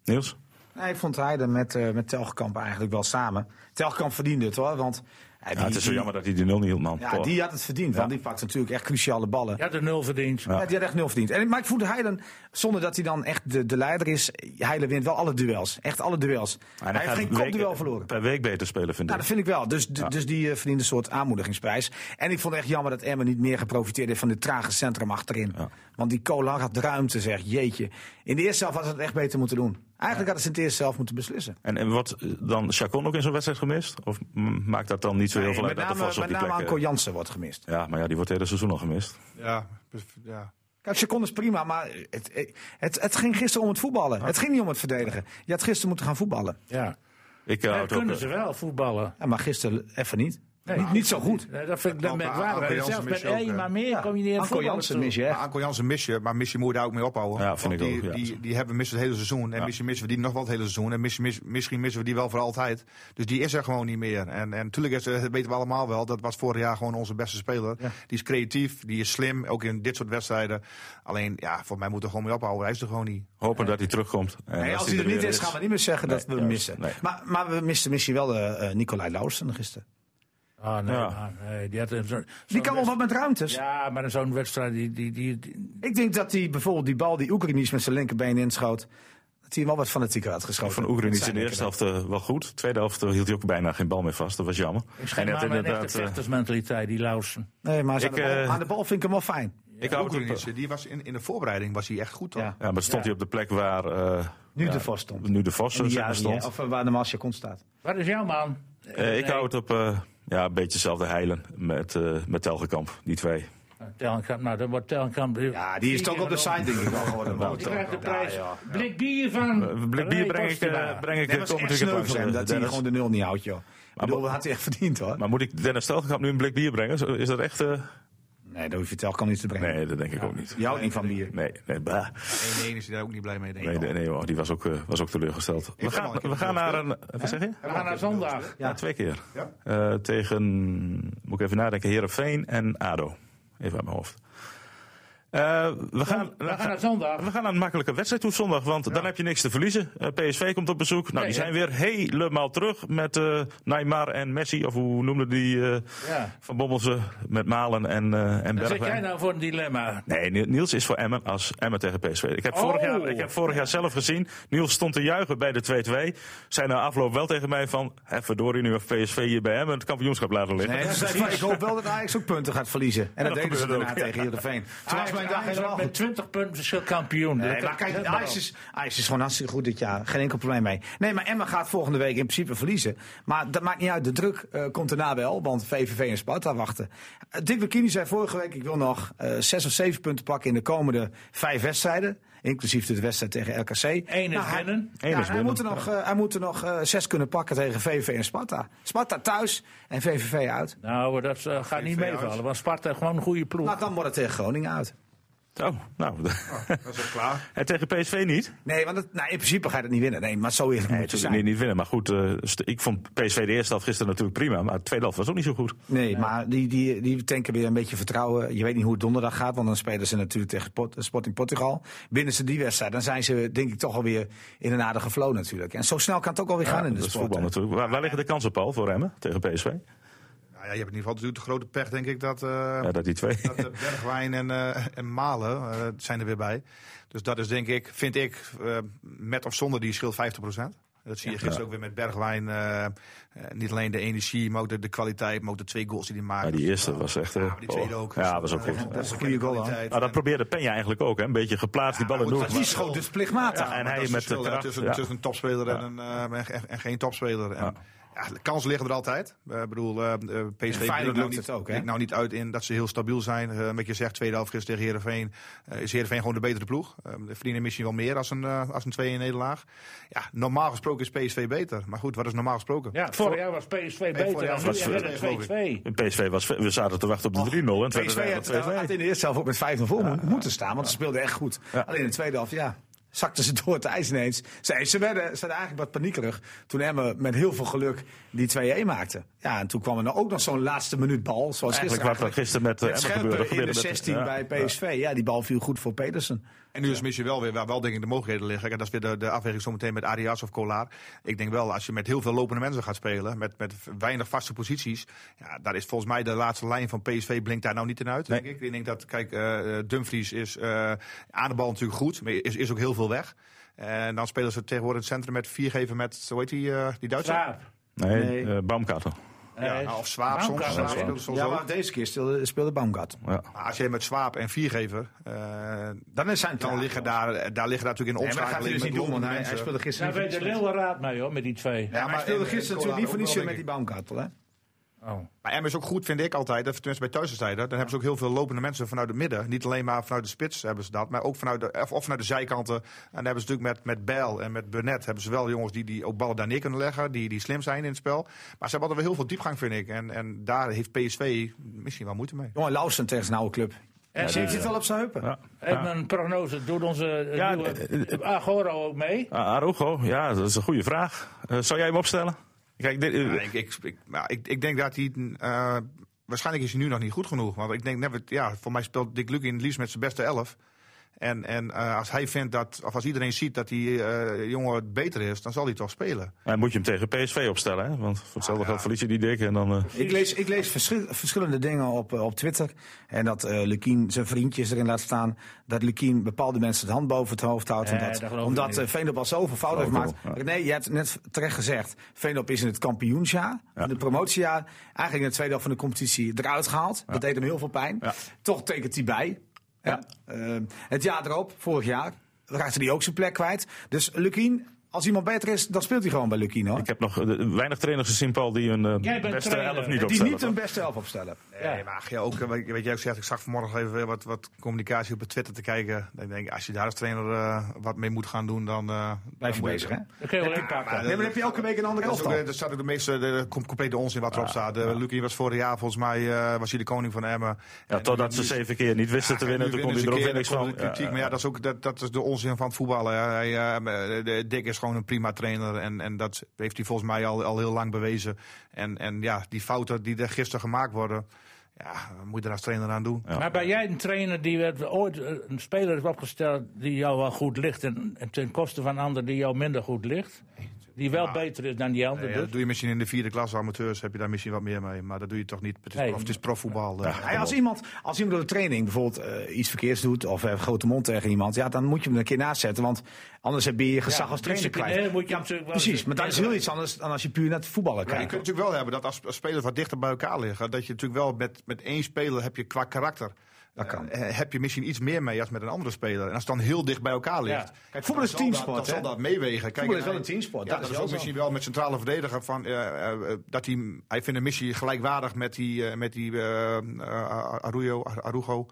S2: Niels?
S3: Nee, ik vond hij er met, eh, met Telgekamp eigenlijk wel samen. Telgekamp verdiende het hoor, want... hij
S2: Ja, het is zo jammer dat hij die 0 niet hield, man.
S3: Ja,
S2: Paul.
S3: die had het verdiend, want die pakt natuurlijk echt cruciale ballen.
S4: Je had de nul verdiend.
S2: Nou,
S3: Ja. die had echt nul verdiend. En, maar ik voelde Heilen, zonder dat hij dan echt de, de leider is, Heilen wint wel alle duels. Echt alle duels.
S2: Maar
S3: hij
S2: dan
S3: heeft
S2: gaat
S3: geen
S2: week-
S3: kopduel verloren.
S2: Per week beter spelen, vind
S3: Nou,
S2: ik.
S3: dat vind ik wel. Dus, d- dus die eh, verdiende een soort aanmoedigingsprijs. En ik vond het echt jammer dat Emmen niet meer geprofiteerd heeft van dit trage centrum achterin. Want die Kolar had ruimte, zeg. Jeetje. In de eerste helft had ze het echt beter moeten doen. Eigenlijk hadden ze in het eerste helft moeten beslissen.
S2: En, en wordt eh, dan Chacon ook in zo'n wedstrijd gemist? Of m- maakt dat dan niet zo heel
S3: Nee,
S2: veel
S3: met
S2: uit dat de
S3: name,
S2: Vos op
S3: met
S2: die
S3: name
S2: plek...
S3: Anko
S2: eh,
S3: Jansen wordt gemist.
S2: Ja, maar ja, die wordt het hele seizoen al gemist.
S5: Ja, dus, ja.
S3: Kijk, seconden is prima, maar het, het, het ging gisteren om het voetballen. Het ging niet om het verdedigen. Je had gisteren moeten gaan voetballen.
S4: Ja.
S2: Ik eh,
S4: Dat
S2: houd ook...
S4: kunnen
S2: eh,
S4: ze wel, voetballen.
S3: Ja, maar gisteren even niet.
S4: Nee.
S3: niet, niet zo goed.
S4: Nee, dat vind ik
S5: Klopt,
S4: dat
S5: maar Anko
S4: merkwaardig.
S5: Jansen
S4: Zelfs
S5: mis
S4: met
S5: je ook,
S4: één,
S5: hè.
S4: maar meer kom je niet in
S3: Anko
S4: voetballen
S3: Jansen
S4: toe.
S3: mis je
S5: Maar
S2: Ah,
S3: echt.
S5: Anko Jansen mis je, maar mis je moet je daar ook mee ophouden.
S2: Ja, vind
S5: Want
S2: ik
S5: die,
S2: ook, ja.
S5: Die, die hebben we missen het hele seizoen. En misschien missen we die nog wel het hele seizoen. En misschien, mis- misschien missen we die wel voor altijd. Dus die is er gewoon niet meer. En, en natuurlijk is, eh, weten we allemaal wel, dat was vorig jaar gewoon onze beste speler. Die is creatief, die is slim, ook in dit soort wedstrijden. Alleen, ja, voor mij moet er gewoon mee ophouden. Hij is er gewoon niet.
S2: eh, Hopen dat hij terugkomt. En
S3: Nee, als hij er niet
S2: weer
S3: is, gaan we niet meer zeggen dat we hem
S2: juist.
S3: missen.
S2: Nee.
S3: Maar, maar we misten misschien wel eh eh, Nicolai Lausen gisteren.
S4: Ah, nee,
S2: Ja.
S4: ah, nee, die had een zo-
S3: Die
S4: zo'n
S3: kan wel wat met ruimtes.
S4: Ja, maar zo'n wedstrijd, die, die, die, die-
S3: Ik denk dat hij bijvoorbeeld die bal die Oekraïnisch met zijn linkerbeen inschoot... dat hij wel wat fanatieker had geschoten.
S2: Van Oekraïne is in de
S3: Zijn
S2: eerste helft eh, wel goed. Tweede helft eh, hield hij ook bijna geen bal meer vast. Dat was jammer.
S4: ik schijn
S2: hij had
S4: maar met een echte
S2: eh,
S4: vechtersmentaliteit, die Lausen.
S3: Nee, maar aan,
S2: Ik,
S3: de bal,
S2: eh,
S3: aan de bal vind ik hem wel fijn.
S2: ik hou het op, eh.
S5: Oekraïnse, die was in, in de voorbereiding was hij echt goed, toch?
S3: Ja.
S2: Ja, maar stond hij op de plek waar eh,
S3: Nu de vast stond.
S2: nu de Vos
S3: En die
S2: zeg maar,
S3: Jari,
S2: stond.
S3: eh, Of eh, waar de Masja kon staat.
S4: Wat is jouw man?
S2: Eh, ik hou het op eh, ja, een beetje hetzelfde heilen met, eh, met Telgekamp. Die twee.
S4: Telkamp, nou, dat wordt Telkamp.
S3: Ja, die is toch op de site denk ik wel geworden.
S4: Die krijgt de prijs. Blik bier van.
S2: Een blik bier
S4: René
S2: breng ik, eh,
S4: Postuma.
S2: breng ik
S3: Dat
S2: eh,
S3: was echt
S2: komend
S3: sneu
S2: weekend
S3: voor
S2: langs. eh,
S3: hem, dat hij
S2: Dennis.
S3: gewoon de nul niet houdt, joh. Ik bedoel,
S2: maar-
S3: dat had hij echt verdiend, hoor.
S2: Maar moet ik Dennis Telgekamp nu een blik bier brengen? Zo- Is dat echt... eh,
S3: Nee, dat hoef je het kan niet te brengen.
S2: Nee, dat denk ik ook niet.
S3: Je houdt niet van bier.
S2: Nee, nee, bah.
S5: 1-1 is hij daar ook niet blij mee, denk ik.
S2: nee, nee, nee joh, die was ook, eh, was ook teleurgesteld. We
S5: heb al
S2: gaan,
S5: een keer
S2: we gaan naar een... Wat zeg je?
S4: We gaan naar zondag.
S2: Ja, twee keer. Eh, tegen, moet ik even nadenken, Herenveen en ADO. Even uit mijn hoofd. Eh, we, gaan,
S4: We gaan naar zondag.
S2: we gaan aan een makkelijke wedstrijd toe zondag, want dan heb je niks te verliezen. Eh, PSV komt op bezoek. Nou, die
S4: hè?
S2: zijn weer helemaal terug met eh, Neymar en Messi, of hoe noemde die eh,
S4: Ja.
S2: Van Bommel ze, met Malen en, eh en
S4: Dan zit jij
S2: Bergwijn.
S4: nou voor een dilemma.
S2: Nee, Ni- Niels is voor Emmen als Emmen tegen PSV. Ik heb, vorig
S4: Oh.
S2: jaar, ik heb vorig jaar zelf gezien, Niels stond te juichen bij de 2-2. Zei na afloop wel tegen mij van, hè verdorie nu of PSV hier bij Emmen het kampioenschap laten liggen.
S3: Nee, dus ik hoop wel dat Ajax ook punten gaat verliezen. En, dat,
S2: dat
S3: deden ze
S2: gebeurde
S3: daarna
S2: ook, ja.
S3: tegen Heerenveen. Toen was
S4: Ajax-
S3: mijn dag
S4: Ajax
S3: helemaal
S4: wordt met
S3: goed.
S4: 20 punten verschil kampioen.
S3: Nee,
S4: Dat-
S3: maar kijk,
S4: dat-
S3: Ajax is, Ajax is gewoon hartstikke goed dit jaar. Geen enkel probleem mee. Nee, maar Emma gaat volgende week in principe verliezen. Maar dat maakt niet uit. De druk eh, komt daarna wel, want VVV en Sparta wachten. Eh, Dick Bikini zei vorige week, ik wil nog eh, zes of zeven punten pakken in de komende vijf wedstrijden. Inclusief de wedstrijd tegen RKC.
S4: Eén is
S3: Nou, hij-
S4: winnen.
S3: ja, hij, moet er nog, eh, hij moet er nog eh, zes kunnen pakken tegen VVV en Sparta. Sparta thuis en VVV uit.
S4: Nou, dat eh, gaat niet
S5: VVV
S4: meevallen.
S5: uit.
S4: Want Sparta heeft gewoon een goede ploeg.
S3: Maar Nou, dan wordt het tegen Groningen uit.
S2: Oh, nou.
S5: Dat is ook klaar.
S2: en tegen PSV niet?
S3: Nee, want het, nou, in principe ga je het niet winnen. Nee, maar zo eerlijk
S2: Nee,
S3: moet je
S2: natuurlijk
S3: zijn.
S2: niet, niet winnen. Maar goed, eh, st- ik vond PSV de eerste helft gisteren natuurlijk prima. Maar de tweede helft was ook niet zo goed.
S3: Nee, maar die, die, die tanken weer een beetje vertrouwen. Je weet niet hoe het donderdag gaat, want dan spelen ze natuurlijk tegen Port- Sporting Portugal. Winnen ze die wedstrijd, dan zijn ze denk ik toch alweer in een aardige flow natuurlijk. En zo snel kan het ook alweer gaan in de
S2: dat is
S3: sport.
S2: voetbal
S3: hè.
S2: natuurlijk. Waar, waar liggen de kansen, Paul, voor Emmen tegen PSV?
S5: Nou ja, je hebt in ieder geval natuurlijk de grote pech, denk ik, dat, eh,
S2: Ja, dat die twee.
S5: dat eh, Bergwijn en, eh, en Malen eh, zijn er weer bij. Dus dat is denk ik, vind ik, eh, met of zonder die scheelt 50 Dat zie je gisteren ook weer met Bergwijn. eh, eh, niet alleen de energie, maar ook de, de kwaliteit, maar ook de twee goals die hij maakt.
S2: Ja, die eerste was echt... eh,
S5: Ja, maar die tweede
S2: oh.
S5: ook.
S2: Ja, was ook
S5: Eh,
S2: goed.
S5: Dat is een goede
S3: Goede goal,
S5: goal.
S3: hoor.
S2: Nou, dat probeerde Penja eigenlijk ook. Hè. Een beetje geplaatst, die ballen door.
S5: goed,
S3: Die schoot dus plichtmatig.
S2: Ja, en
S5: Maar
S2: hij
S5: dat is
S2: met
S5: het verschil,
S2: de
S5: hè,
S2: kracht,
S5: tussen,
S2: ja.
S5: tussen een topspeler en, een, eh, en, en geen topspeler. En, ja, de kansen liggen er altijd. Ik bedoel, eh, eh, PSV
S3: Feyenoord
S5: breekt
S3: lukt
S5: nou, niet,
S3: het ook, hè?
S5: breekt nou niet uit in dat ze heel stabiel zijn. Eh wat je zegt, tweede helft gisteren tegen Heerenveen eh, is Heerenveen gewoon de betere ploeg. Eh, de verdienen misschien wel meer als een, eh, als een 2 in nederlaag. Ja, normaal gesproken is PSV beter. Maar goed, wat is normaal gesproken?
S4: Ja, vorig jaar was PSV beter
S5: jaar
S4: dan nu.
S5: was
S4: En
S5: het-
S4: werd
S5: geloof ik.
S4: het 2-2.
S2: PSV was... We zaten te wachten op de 3-0. En het werd
S3: PSV had,
S2: uiteindelijk 2-2.
S3: had in de eerste helft ook met 5 voor mo- moeten staan, want ze speelden echt goed. Alleen in de tweede helft, ja, zakten ze door het ijs ineens. Ze, ze werden ze werden eigenlijk wat paniekerig toen Emmen met heel veel geluk die 2-1 maakte. Ja, en toen kwam er nou ook nog zo'n laatste minuut bal, zoals
S2: Eigenlijk wat er
S3: gisteren
S2: gisteren met eh,
S3: Het
S2: Emmen gebeurde.
S3: Scherpen in de
S2: gebeurde met-
S3: 16
S2: ja.
S3: bij PSV. Ja. die bal viel goed voor Pedersen.
S5: En nu is misschien wel weer waar wel denk ik de mogelijkheden liggen. En dat is weer de, de afweging zometeen met Arias of Kolar. Ik denk wel, als je met heel veel lopende mensen gaat spelen, met, met weinig vaste posities, ja, daar is volgens mij de laatste lijn van PSV blinkt daar nou niet in uit. Denk ik. ik denk dat, kijk, eh, Dumfries is eh, aan de bal natuurlijk goed, maar is, is ook heel veel weg. En dan spelen ze tegenwoordig het centrum met viergeven met, hoe heet die, eh, die Duitse?
S4: Schaap.
S2: Nee,
S3: Nee.
S2: eh, Baumkartel.
S5: Ja,
S4: Eh,
S5: nou, of Zwaap soms.
S4: Baumgartel.
S5: Zwaap speelt soms
S3: Ja,
S5: ook.
S3: maar deze keer speelde, speelde Baumgart.
S2: Ja.
S5: Maar als je met Zwaap en viergever, eh
S3: Dan is zijn
S5: dan liggen daar, daar liggen daar natuurlijk in
S3: Nee, maar dat gaat hij
S5: omschakeling
S3: dus niet doen, want
S5: lopende
S3: hij, hij
S5: mensen.
S3: speelde
S4: Daar
S3: gisteren
S4: weet de Leeuwen raad mee hoor, met die twee.
S3: Ja, maar hij speelde
S5: en- en
S3: gisteren natuurlijk
S5: Kolar
S3: niet
S5: ook
S3: voor niets
S5: wel,
S3: meer met die
S5: denk
S3: Baumgartel, hè?
S4: Oh.
S5: Maar Emmen is ook goed, vind ik altijd. dat- Tenminste, bij thuiswedstrijden. Dan hebben ze ook heel veel lopende mensen vanuit het midden. Niet alleen maar vanuit de spits hebben ze dat. Maar ook vanuit de, of, of vanuit de zijkanten. En dan hebben ze natuurlijk met, met Bijl en met Burnett... hebben ze wel jongens die, die ook ballen daar neer kunnen leggen. Die, die slim zijn in het spel. Maar ze hebben altijd wel heel veel diepgang, vind ik. En, en daar heeft PSV misschien wel moeite mee.
S3: Jongen, Lausen tegen zijn oude club.
S4: En
S3: Ze heeft het wel op zijn heupen.
S4: Even een prognose. Doet onze eh,
S2: Ja,
S4: nieuwe
S2: eh, eh,
S4: Agoro ook mee?
S2: Ah, Arugo, ja, dat is een goede vraag. Eh, zou jij hem opstellen? Kijk, dit, eh,
S5: Ja, ik, ik, ik, maar ik, ik denk dat hij... eh, waarschijnlijk is hij nu nog niet goed genoeg. Want ik denk, net, ja, voor mij speelt Dick Luc in het liefst met zijn beste elf. En, en eh, als hij vindt dat, of als iedereen ziet dat die eh, jongen beter is, dan zal hij toch spelen.
S2: eh, moet je hem tegen PSV opstellen, hè? Want voor hetzelfde geld verlies je die dik en dan... eh,
S3: Ik lees, ik lees verschil- verschillende dingen op, eh, op Twitter. En dat eh Lukien zijn vriendjes erin laat staan. Dat Lukien bepaalde mensen het hand boven het hoofd houdt.
S4: Eh,
S3: omdat
S4: dat geloof ik
S3: omdat
S4: niet.
S3: eh, Veendorp al zoveel fouten heeft
S2: Geloof ik
S3: gemaakt. Nee, je hebt net terecht gezegd. Veendorp is in het kampioensjaar, in het promotiejaar. Eigenlijk in het tweede helft van de competitie eruit gehaald. Dat deed hem heel veel pijn. Toch tekent hij bij. Ja. Eh, het jaar erop, vorig jaar, raakte hij ook zijn plek kwijt. Dus Lukien, als iemand beter is, dan speelt hij gewoon bij Lukien hoor.
S2: Ik heb nog eh, weinig trainers gezien, Paul, die hun eh,
S4: Jij bent
S2: beste
S4: trainer.
S2: elf niet
S4: Die
S3: Die
S2: opstellen.
S3: niet hun beste elf opstellen.
S5: Nee, maar ach, ja, ook, eh, weet weet jij ook zegt, ik zag vanmorgen even weer wat, wat communicatie op Twitter te kijken. Dan denk ik, als je daar als trainer eh, wat mee moet gaan doen, dan... eh,
S3: Blijf je
S5: dan moet
S3: bezig, hè?
S4: Dat kun je wel inpakken.
S5: eh, maar
S3: Nee, maar dan heb je elke week een andere
S5: Dat is
S3: elftal.
S5: ook, eh, dat staat ook de meeste de, de, com- complete onzin wat erop staat. Eh, Luc, die was vorig jaar volgens mij eh, was hij de koning van Emmen.
S2: Ja,
S5: En
S2: totdat
S5: nu-
S2: ze zeven keer niet wisten te
S5: Ja,
S2: winnen,
S5: nu
S2: toen kon hij
S5: winnen
S2: er ook weer
S5: ze een
S2: niks
S5: keer, dan
S2: van.
S5: komt er kritiek.
S2: Ja,
S5: Maar ja, dat is, ook, dat, dat is de onzin van voetballen. hè. Hij, eh, de- Dick is gewoon een prima trainer. En, en dat heeft hij volgens mij al, al heel lang bewezen. En, en ja, die fouten die er gisteren gemaakt worden. Ja, wat moet je er als trainer aan doen?
S4: Maar ben jij een trainer die werd ooit eh, een speler is opgesteld die jou wel goed ligt en, en ten koste van anderen die jou minder goed ligt? Die wel beter is dan die ander.
S5: Ja,
S4: dus?
S5: dat doe je misschien in de vierde klasse amateurs. Heb je daar misschien wat meer mee. Maar dat doe je toch niet. Het is,
S4: Nee.
S5: prof, het is profvoetbal. eh.
S3: Hey, als, iemand, als iemand door de training bijvoorbeeld eh, iets verkeerds doet of heeft grote mond tegen iemand, ja, dan moet je hem er een keer naast zetten. Want anders heb je je gezag als trainer
S4: disciplinair
S3: kwijt.
S4: moet je natuurlijk wel-
S3: precies, maar dat is heel iets anders dan als je puur naar het voetballen
S5: Ja, je
S3: kijkt.
S5: kunt natuurlijk wel hebben dat als, als spelers wat dichter bij elkaar liggen, dat je natuurlijk wel met, met één speler heb je qua karakter.
S3: Dat kan.
S5: eh, heb je misschien iets meer mee als met een andere speler. En als het dan heel dicht bij elkaar ligt.
S4: Ja.
S5: Kijk,
S3: Voetbal is
S5: dan zal dat-
S3: teamsport,
S5: Dan
S3: hè?
S5: zal dat meewegen. Kijk,
S3: Voetbal is
S5: en
S3: wel
S5: hij-
S3: een teamsport,
S5: Ja,
S3: dat
S5: dat,
S3: is
S5: is
S3: wel
S5: ook
S3: zo.
S5: misschien wel met centrale verdediger. Van, eh, eh, dat hij, hij vindt een missie gelijkwaardig met die, eh, met die eh, eh, Arroyo, Ar- Arugo.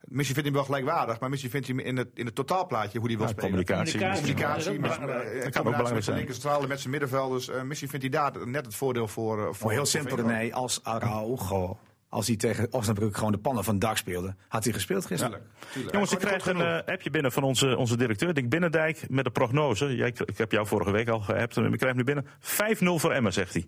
S5: Missie vindt hij wel gelijkwaardig, maar misschien vindt hij hem in het, in het totaalplaatje hoe hij wil spelen.
S2: Communicatie.
S5: Communicatie,
S4: Ja, dat is
S5: mis-
S4: ook belangrijk.
S5: eh,
S2: ook
S5: combinatie
S2: belangrijk
S5: met zijn
S2: zijn.
S5: linker centrale met zijn middenvelders. Eh, misschien vindt hij daar net het voordeel voor. eh, voor
S3: Maar heel simpel,
S5: voor Veenlo.
S3: René, als Araujo, als hij tegen Osnabrück gewoon de pannen van dak speelde, had hij gespeeld gisteren.
S5: Tuurlijk, tuurlijk.
S2: Jongens, ik krijg een eh, appje binnen van onze, onze directeur, Dick Binnendijk, met een prognose. Jij, ik, ik heb jou vorige week al geappt. en Ik krijg nu binnen 5-0 voor Emmen, zegt hij.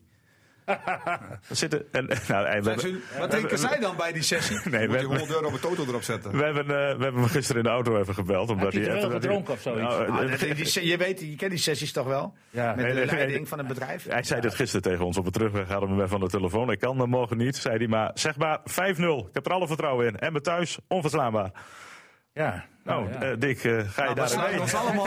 S2: Er zitten, en, nou, en we
S3: Zijn
S2: hebben-
S3: ze- Wat denken zij dan bij die
S2: nee, we
S3: sessie?
S5: Moet je
S2: hebben,
S5: 100 euro op het toto erop zetten.
S2: we, hebben, eh, we hebben hem gisteren in de auto even gebeld. Omdat
S4: hij
S2: hij
S4: te veel
S2: even-
S4: gedronken of zoiets?
S2: Nou, eh,
S3: Ah, dat- die- die- je weet, je kent die sessies toch wel?
S4: Ja.
S3: Met
S2: Nee,
S3: de
S2: nee,
S3: leiding
S2: nee.
S3: van een bedrijf.
S2: Hij zei dit gisteren tegen ons op de terugweg. Hadden we hem even aan de telefoon. Ik kan, dat mogen niet. Zei hij maar, zeg maar 5-0. Ik heb er alle vertrouwen in. En me thuis, onverslaanbaar.
S4: Ja.
S3: Oh,
S2: Nou,
S4: ja.
S2: eh, Dick, eh, ga je
S3: We
S2: daar
S3: sluiten,
S2: mee?
S3: ons allemaal,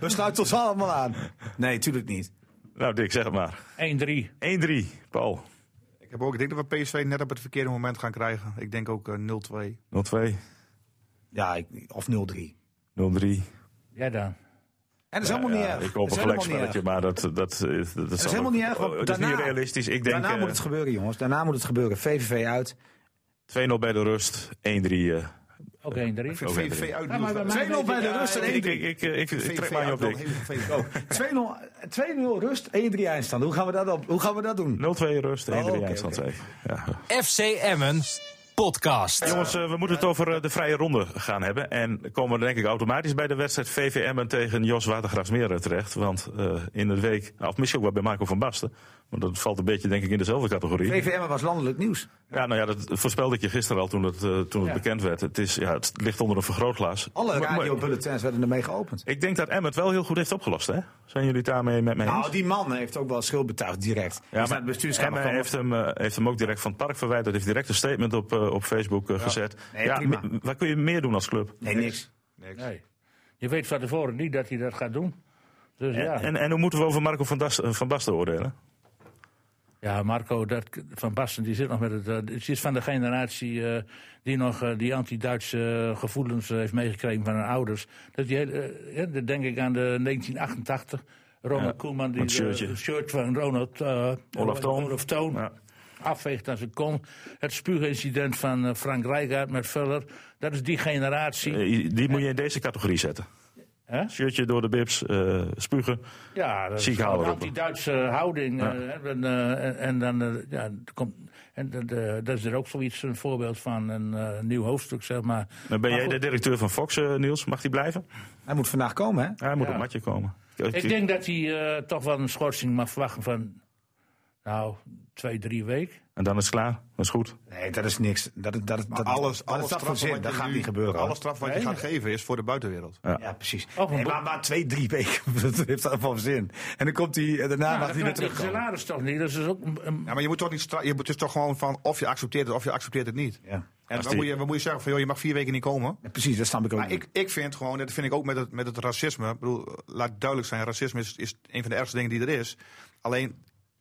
S3: we sluiten ons allemaal aan. Nee, tuurlijk niet.
S2: Nou, Dick, zeg het maar.
S4: 1-3.
S2: 1-3, Paul.
S5: Ik, heb ook, ik denk dat we PSV net op het verkeerde moment gaan krijgen. Ik denk ook eh, 0-2.
S2: 0-2, 0-3.
S3: Ja, ik, of 0-3.
S4: Jij dan.
S3: En dat is helemaal niet
S2: Ja,
S3: erg.
S2: Ik hoop
S3: Dat
S2: een
S3: is helemaal niet
S2: gelijkspelletje,
S3: erg.
S2: maar dat, eh, dat, dat, is
S3: Dat is helemaal niet erg. want
S2: Het is
S3: daarna,
S2: niet realistisch. Ik denk
S3: daarna moet het
S2: eh,
S3: gebeuren, jongens. Daarna moet het gebeuren. VVV uit.
S2: 2-0 bij de rust, 1-3. eh.
S4: Ook 1-3.
S5: Ik vind
S2: Ook
S5: VV
S2: weer
S5: uit
S4: Ja, maar bij
S5: 0-2.
S4: mij
S3: 2-0 bij de rust en
S2: Ik, ik,
S3: 1-3.
S2: ik, ik, ik trek
S5: VV
S2: maar je op,
S5: uit wel
S2: Dick.
S5: heel
S3: 2-0
S5: vervelend.
S3: 2-0 rust, 1-3 eindstand. Hoe gaan we dat, op, hoe gaan we dat doen?
S2: 0-2 rust, 1-3
S3: Oh, oké,
S2: eindstand
S3: oké.
S2: zei ik. Ja.
S1: FC Emmen's podcast.
S2: Jongens, eh, we moeten het over eh, de vrije ronde gaan hebben. En komen we denk ik automatisch bij de wedstrijd VVM tegen Jos Watergraafsmeren terecht. Want eh, in de week, nou, of misschien ook wel bij Marco van Basten. Want dat valt een beetje denk ik in dezelfde categorie.
S3: VVM was landelijk nieuws.
S2: Ja, nou ja, dat voorspelde ik je gisteren al toen het, eh, toen het
S4: Ja.
S2: bekend werd. Het, is, ja, het ligt onder een vergrootglas.
S3: Alle
S2: Maar- maar-
S3: radiobulletins werden ermee geopend.
S2: Ik denk dat Em het wel heel goed heeft opgelost, hè? Zijn jullie het daarmee met mij eens?
S3: Nou, die man heeft ook wel schuld betuigd direct. Ja, maar het bestuurskamer
S2: Emmen
S3: van-
S2: heeft hem, eh, heeft hem ook direct van het park verwijderd. Heeft direct een statement op, eh, op Facebook eh, gezet.
S3: Nee, prima.
S2: m- Wat kun je meer doen als club?
S3: Nee, niks.
S4: Nee. Je weet van tevoren niet dat hij dat gaat doen. Dus
S2: En,
S4: ja.
S2: en, en hoe moeten we over Marco van, Das- eh, van Basten oordelen?
S4: Ja, Marco dat, van Basten die zit nog met het. eh, die is van de generatie eh, die nog eh, die anti-Duitse eh, gevoelens eh, heeft meegekregen van hun ouders. Dat die, hele, eh, ja, dan denk ik aan de 1988. Ronald
S2: Ja,
S4: Koeman, die
S2: met
S4: eh,
S2: shirtje.
S4: het shirt van Ronald eh,
S2: Olaf Toon.
S4: Olaf Toon
S2: Ja.
S4: afveegt als het kon. Het spuugincident van eh, Frank Rijkaard met Vuller. Dat is die generatie.
S2: Eh, die moet je in deze categorie zetten.
S4: Hè?
S2: Shirtje door de bibs, eh, spugen.
S4: Ja, dat
S2: Ziek
S4: is een
S2: houden we.
S4: anti-Duitse houding. eh, en, eh, en- en dan eh, ja, er komt. En dat, eh, dat is er ook zoiets een voorbeeld van een eh, nieuw hoofdstuk, zeg maar.
S2: Dan ben
S4: Maar
S2: jij
S4: goed,
S2: de directeur van Fox, eh, Niels. Mag die blijven?
S3: Hij moet vandaag komen, hè?
S2: Hij moet
S4: Ja.
S2: op matje komen.
S4: Ik denk dat hij eh, toch wel een schorsing mag verwachten van. Nou, twee, drie weken.
S2: En dan is het klaar. Dat is goed.
S3: Nee, dat is niks. Dat, dat, dat, dat,
S5: Alles,
S3: dat
S5: alles
S3: is dat
S5: straf
S3: van
S5: wat
S3: zin.
S5: je
S3: Dat gaat
S5: nu-
S3: niet gebeuren. hoor.
S5: Alle straf wat je gaat geven is voor de buitenwereld.
S3: Ja, precies.
S4: een
S3: Nee,
S4: bo-
S3: maar, maar twee, drie weken dat heeft dat van zin. En dan komt hij, en daarna mag
S4: dat
S3: hij weer
S4: krijgt de
S3: terugkomen.
S4: salaris toch niet? Dat is dus ook een, een-
S5: Ja, maar je moet toch niet stra- je moet, het is toch gewoon van of je accepteert het of je accepteert het niet.
S3: Ja.
S5: En
S2: Als
S5: dan
S2: die-
S5: moet je, dan moet je zeggen van joh, je mag vier weken niet komen.
S3: Ja, precies, dat snap ik ook.
S5: Maar
S3: niet.
S5: ik, ik vind gewoon, dat vind ik ook met het, met het racisme. Ik bedoel, laat duidelijk zijn, racisme is, is een van de ergste dingen die er is. Alleen,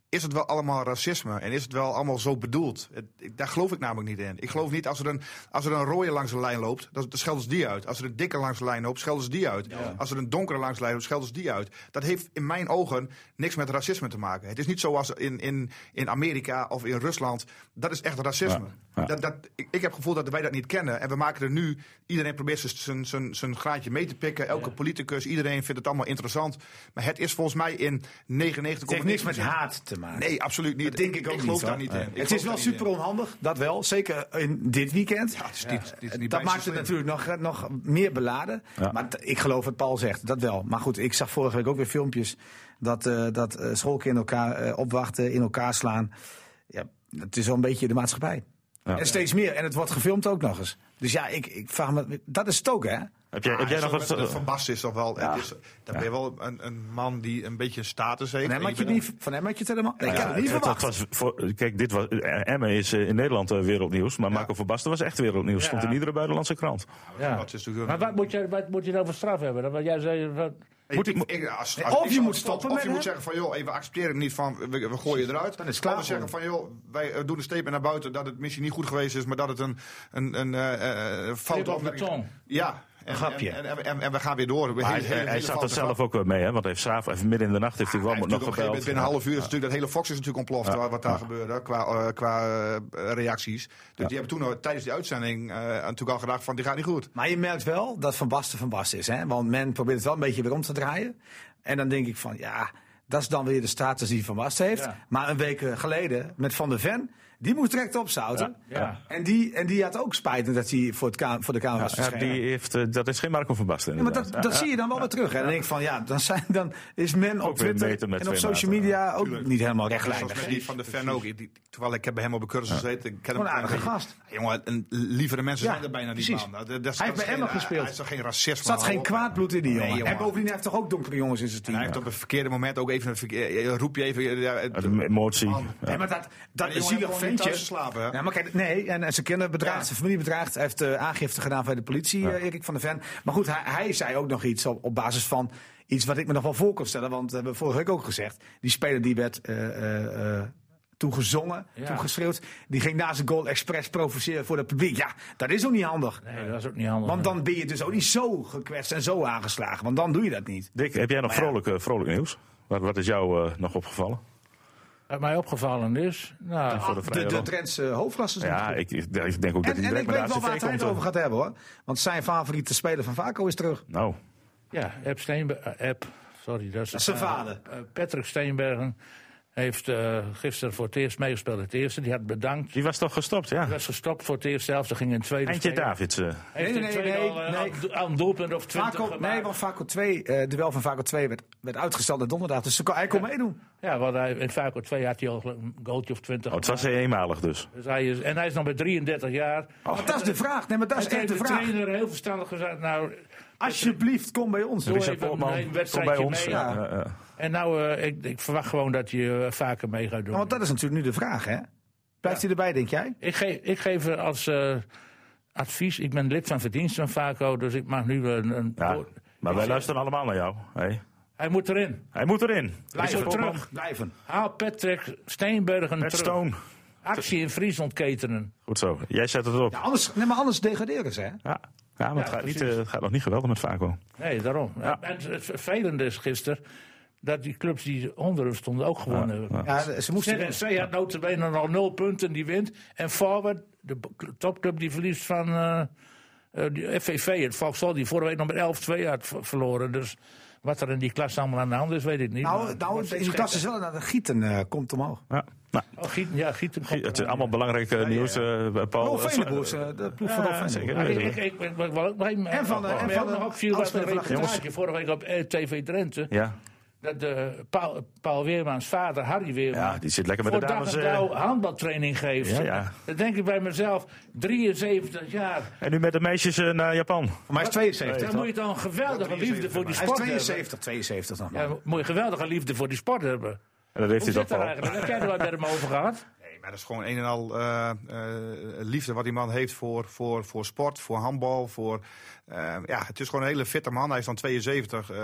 S5: is het wel allemaal racisme? En is het wel allemaal zo bedoeld? Het- ik- daar geloof ik namelijk niet in. Ik geloof niet als er een, als er een rode langs de lijn loopt, dan, dan schelden ze die uit. Als er een dikke langs de lijn loopt, schelden ze die uit. Als er een donkere langs de lijn loopt, schelden ze die uit. Dat heeft in mijn ogen niks met racisme te maken. Het is niet zoals in, in, in Amerika of in Rusland. Dat is echt racisme.
S2: Ja, ja.
S5: Dat, dat, ik, ik heb het gevoel dat wij dat niet kennen. En we maken er nu. Iedereen probeert zijn- zijn- zijn zijn graadje mee te pikken. Elke politicus, iedereen vindt het allemaal interessant. Maar het is volgens mij in 99,9.
S3: Het heeft niks met haat te maken.
S5: Nee, absoluut niet.
S3: Dat denk ik ook
S5: geloof
S3: niet,
S5: daar
S3: hoor.
S5: niet
S3: Nee.
S5: in. Ik
S3: Het is
S5: geloof
S3: wel
S5: daar niet
S3: super
S5: in.
S3: onhandig, dat wel. Zeker in dit weekend.
S5: Ja, het is niet- het is niet
S3: dat
S5: bij
S3: maakt het
S5: slim.
S3: natuurlijk nog, eh, nog meer beladen.
S2: Ja.
S3: Maar t- ik geloof wat Paul zegt, dat wel. Maar goed, ik zag vorige week ook weer filmpjes dat, eh, dat eh, schoolkinderen elkaar eh, opwachten, in elkaar slaan. Ja, het is wel een beetje de maatschappij.
S2: Ja.
S3: En steeds meer. En het wordt gefilmd ook nog eens. Dus ja, ik, ik vraag me. Dat is het ook, hè?
S2: Heb jij,
S5: Ja,
S2: heb jij
S5: en
S2: nog eh,
S5: zo
S2: wat...
S5: met- met Van Basten is toch wel.
S3: Ja.
S5: Het is, dan ben je wel een, een man die een beetje status heeft.
S3: Van hem
S5: En
S3: had je,
S5: bent-
S3: niet, van hem had je het helemaal. Nee, ik
S2: Ja,
S3: had het niet
S2: het-
S3: verwacht.
S2: het was voor- kijk, dit was, eh, Emmen is eh, in Nederland eh, wereldnieuws, maar Marco van Basten was echt wereldnieuws.
S4: Ja.
S2: Stond in iedere buitenlandse krant.
S4: ja.
S5: dat is natuurlijk-
S4: Maar wat moet, je, wat moet je nou voor straf hebben? Dat wat jij zei, wat,
S5: Moet ik, ik- als, als-
S3: Of
S5: ik-
S3: je moet
S5: als-
S3: stoppen
S5: Of
S3: met
S5: je moet
S3: hem.
S5: zeggen van joh, even accepteren niet van we, we gooien je eruit.
S3: Dan is het klaar
S5: Of we zeggen van joh, wij eh, doen een statement naar buiten dat het misschien niet goed geweest is, maar dat het een, een, een eh, eh,
S4: Flip
S5: foute
S4: op de
S5: opmerking
S4: tong.
S5: Ja. En,
S3: grapje.
S5: En, en, en- en we gaan weer door. Hele-
S2: hij,
S5: hele-
S2: hij, hij
S5: hele
S2: zag
S5: foute
S2: dat
S5: grap.
S2: zelf ook wel mee, hè? Want hij heeft s'avonds, even midden in de nacht, heeft hij wel
S5: Hij heeft
S2: nog
S5: natuurlijk op een gegeven
S2: gebeld.
S5: moment binnen een half uur is natuurlijk dat hele Fox is natuurlijk ontploft wa- wat daar gebeurde qua, eh, qua eh, reacties. Dus die hebben toen al, tijdens die uitzending eh, natuurlijk al gedacht van die gaat niet goed.
S3: Maar je merkt wel dat Van Basten Van Basten is. Hè? Want men probeert het wel een beetje weer om te draaien. En dan denk ik van, ja, dat is dan weer de status die Van Basten heeft.
S4: Ja.
S3: Maar een week geleden met Van der Ven, die moest direct opzouten.
S4: Ja, ja.
S3: En, die, en die had ook spijt dat hij voor, het ka- voor de Kamer was
S2: Ja,
S3: verschenen.
S2: die heeft, eh, dat is geen Marco van Basten.
S3: Ja, maar dat,
S2: inderdaad.
S3: dat zie je dan wel weer terug. hè. En dan denk ik van, ja, dan, zijn, dan is men op
S2: Ook weer
S3: Twitter
S2: meten met
S3: en op
S2: twee
S3: social
S2: maten,
S3: media ook niet helemaal
S5: Zoals
S3: rechtlijnig.
S5: met die van de fan ook. Die- die- terwijl ik heb bij hem op een cursus gezeten. Ik ken hem
S3: Gewoon een aardige gast.
S5: Ja, jongen, en lievere mensen
S3: Ja,
S5: zijn er bijna
S3: precies.
S5: niet. Man. Dat- dat- dat-
S3: Hij heeft
S5: dat
S3: bij
S5: is
S3: Emma
S5: geen- eh,
S3: gespeeld.
S5: Hij is toch geen racisme.
S3: Er zat geen kwaad bloed in die jongen.
S5: jongen.
S3: En bovendien hij heeft toch ook donkere jongens in zijn team.
S5: Hij heeft op een verkeerde moment ook even een verkeer- eh, roep je even. eh, Ja, het-
S2: Ja, de emotie.
S3: Nee, maar dat, dat
S5: Die
S3: is
S5: jongen
S3: zielig
S5: heeft gewoon niet
S3: ventje.
S5: thuis geslapen, hè?
S3: Ja, maar kijk, nee, en, en zijn kinderen bedreigd, zijn familie bedreigd. Hij heeft eh, aangifte gedaan bij de politie, eh, Erik van der Ven. Maar goed, hij, hij zei ook nog iets op, op basis van iets wat ik me nog wel voor kon stellen. Want we hebben vorige week ook gezegd, die speler die werd eh eh, eh, toen gezongen,
S4: Ja.
S3: toen geschreeuwd. Die ging na zijn goal expres provoceren voor het publiek. Ja, dat is ook niet handig.
S4: Nee, dat is ook niet handig.
S3: Want dan ben je dus ook niet zo gekwetst en zo aangeslagen. Want dan doe je dat niet.
S2: Dick, heb jij nog vrolijk, eh, vrolijk nieuws? Wat, wat is jou eh, nog opgevallen?
S4: Wat mij opgevallen is. Nou,
S2: Voor de
S3: De,
S2: vrije
S3: de
S2: rol.
S3: Drentse hoofdklasse is nog
S2: Ja, ik, ik ik denk ook dat
S3: En,
S2: hij
S3: en
S2: direct
S3: ik
S2: met de
S3: weet wel waar
S2: ACV
S3: het hij
S2: komt.
S3: het
S2: eh.
S3: over gaat hebben hoor. Want zijn favoriete speler van Vaco is terug.
S2: Nou,
S4: ja, App Steenbergen. App, sorry, dat is
S3: is zijn vader.
S4: Eh, Patrick Steenbergen heeft eh, gisteren voor het eerst meegespeeld. in Het eerste, die had bedankt.
S2: die was toch gestopt, ja.
S4: Hij was gestopt voor het eerst zelf. Ze ging in het tweede.
S2: Eindje
S4: spelen.
S2: Davids. eh.
S4: Heeft
S3: Nee,
S4: in het
S3: nee,
S4: tweede
S3: nee,
S4: al, eh,
S3: nee.
S4: aan- Aan doelpunt of twintig
S3: Vaco,
S4: gemaakt.
S3: nee, want Vaco 2, eh duel van Vaco 2 werd, werd uitgesteld naar donderdag. Dus ze kon- hij kon meedoen.
S4: Ja, want hij, in Vaco 2 had hij al een goaltje of twintig.
S2: Oh, het was eenmalig dus.
S4: Dus hij is, en hij is nog bij 33 jaar.
S3: Maar dat is de vraag. Nee, maar dat is
S4: Oh. Hij
S3: echt de
S4: heeft de
S3: vraag.
S4: trainer heel verstandig gezegd. Nou,
S3: Alsjeblieft, kom bij ons.
S4: Doe
S2: Richard
S4: even een
S2: Polman, kom bij
S4: wedstrijdje
S2: ons.
S4: mee,
S2: ja,
S3: ja.
S2: ja, ja.
S4: en nou, eh, ik, ik verwacht gewoon dat je eh, vaker mee gaat doen.
S3: Nou, want dat is natuurlijk nu de vraag, hè? Blijft hij erbij, denk jij?
S4: Ik, geef, ik geef er als eh, advies, ik ben lid van verdienst van Vaco, dus ik mag nu een... een
S2: Ja,
S4: woord-
S2: Maar wij
S4: Ik zeg,
S2: luisteren allemaal naar jou. Hey.
S4: Hij moet erin.
S2: Hij moet erin.
S4: Blijven
S2: Richard Polman,
S4: terug.
S3: Blijven.
S4: Haal Patrick Steenbergen
S2: Met
S4: terug.
S2: Stone.
S4: Actie in Friesland ketenen.
S2: Goed zo. Jij zet het op.
S3: Ja, anders, nee, maar anders degraderen ze, hè?
S2: Ja, ja maar het,
S4: Ja,
S2: gaat niet,
S4: precies.
S2: eh, het gaat nog niet geweldig met Vaco.
S4: Nee, daarom.
S2: Ja.
S4: En het vervelende is gisteren dat die clubs die onder hem stonden ook gewonnen hebben.
S3: Ja, ze moesten.
S4: ZSC had notabene al nul punten, die wint. En Forward, de b- cl- topclub, die verliest van eh, eh, die FVV. Het Vauxhall, die vorige week nog met 11-2 had v- verloren. Dus wat er in die klas allemaal aan de hand is, weet ik niet.
S3: Nou,
S4: maar-
S3: nou
S4: maar-
S3: in de klas is wel naar de gieten eh, komt omhoog.
S2: Ja. Nou,
S4: Oh, Gieten, ja, Gieten komt
S2: het is
S4: eraan.
S2: allemaal belangrijk eh, nieuws, eh, Paul.
S3: Oh, Veneboers, eh, de ploeg
S2: Ja,
S3: van Veneboers.
S2: zeker.
S4: Ja, ik, ik, ik, ik, ik wil ook nog even-
S3: En van de-
S4: wat
S3: en
S4: mij
S3: van
S4: ook
S3: de
S4: nog opviel was een
S3: afspeler van de
S4: reportage vorige week op eh, TV Drenthe.
S2: Ja.
S4: Dat de, Paul, Paul Weermaans vader, Harry Weermaans.
S2: Ja, die zit lekker met de
S4: voor
S2: dames,
S4: dag en
S2: eh.
S4: dauw handbaltraining geeft.
S2: Ja, ja.
S4: Dan denk ik bij mezelf, 73 jaar.
S2: En nu met de meisjes eh, naar Japan.
S3: Maar hij is 72.
S4: Dan moet je dan geweldige liefde voor die
S3: Hij is
S4: sport hebben.
S3: 72, 72 dan.
S4: Ja, moet je geweldige liefde voor die sport hebben.
S2: En dat heeft
S4: Hoe
S2: hij
S4: zit
S2: toch
S4: dat
S2: al.
S4: eigenlijk? Heb jij er wat met hem over gehad?
S5: Nee, maar dat is gewoon een en al eh, eh, liefde wat die man heeft voor, voor, voor sport, voor handbal. Voor, eh, ja, het is gewoon een hele fitte man. Hij is dan 72. eh,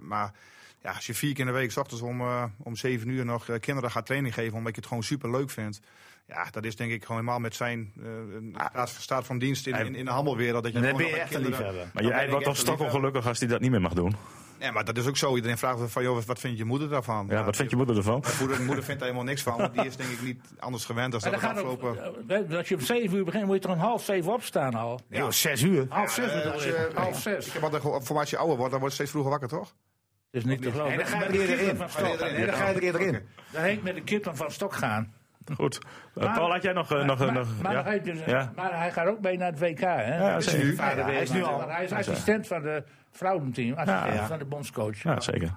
S5: maar ja, als je vier keer in de week, s ochtends om, eh, om 7 uur nog eh, kinderen gaat training geven, omdat je het gewoon super leuk vindt. Ja, dat is denk ik gewoon helemaal met zijn eh, een staat, staat van dienst in, in, in de handelwereld. Dat je
S3: Ah. Dan
S5: gewoon
S3: ben je
S5: nog
S3: echt een
S5: met kinderen-
S3: liefhebber.
S2: Maar jij
S5: ben ik
S2: wordt toch
S5: echt een liefhebber.
S2: stokkelgelukkig als hij dat niet meer mag doen.
S5: Nee, maar dat is ook zo. Iedereen vraagt van, joh, wat vind je moeder daarvan? Nou,
S2: Ja, wat vind je moeder ervan?
S5: Moeder, moeder vindt daar helemaal niks van. want Die is denk ik niet anders gewend dan
S4: En
S5: dat
S4: dan
S5: het
S4: gaat
S5: afgelopen...
S4: ook, eh, als je om 7 uur begint, moet je toch om half 7 opstaan al?
S3: Nee, joh, 6 uur.
S4: Half
S5: Ja,
S4: 6
S5: eh,
S4: bedoel
S5: als
S4: ik.
S5: je-
S4: Half 6.
S5: Ik
S4: Het
S5: heb altijd gehoord, voor als je ouder wordt, dan wordt je steeds vroeger wakker, toch?
S4: is niet te geloven.
S3: En dan ga je
S4: Met
S3: er
S4: de
S3: eerder
S4: Kipman
S3: in.
S4: van Stok.
S3: Nee, dan ga je er eerder in.
S4: Dan heet met de kippen van Stok gaan.
S2: Goed. Eh, Paul, had jij nog... eh, nog, eh,
S4: Maar,
S2: nog
S4: maar
S2: ja?
S4: hij dus-
S2: Ja.
S4: maar hij gaat ook mee naar het WK. Hè?
S2: Ja, zeker.
S4: Zijn vader
S3: Ja, hij is nu
S4: Weermaans.
S3: al.
S4: Maar Hij is assistent van de vrouwenteam. Assistent
S2: Ja.
S4: van de bondscoach.
S2: Ja,
S4: Nou,
S2: zeker.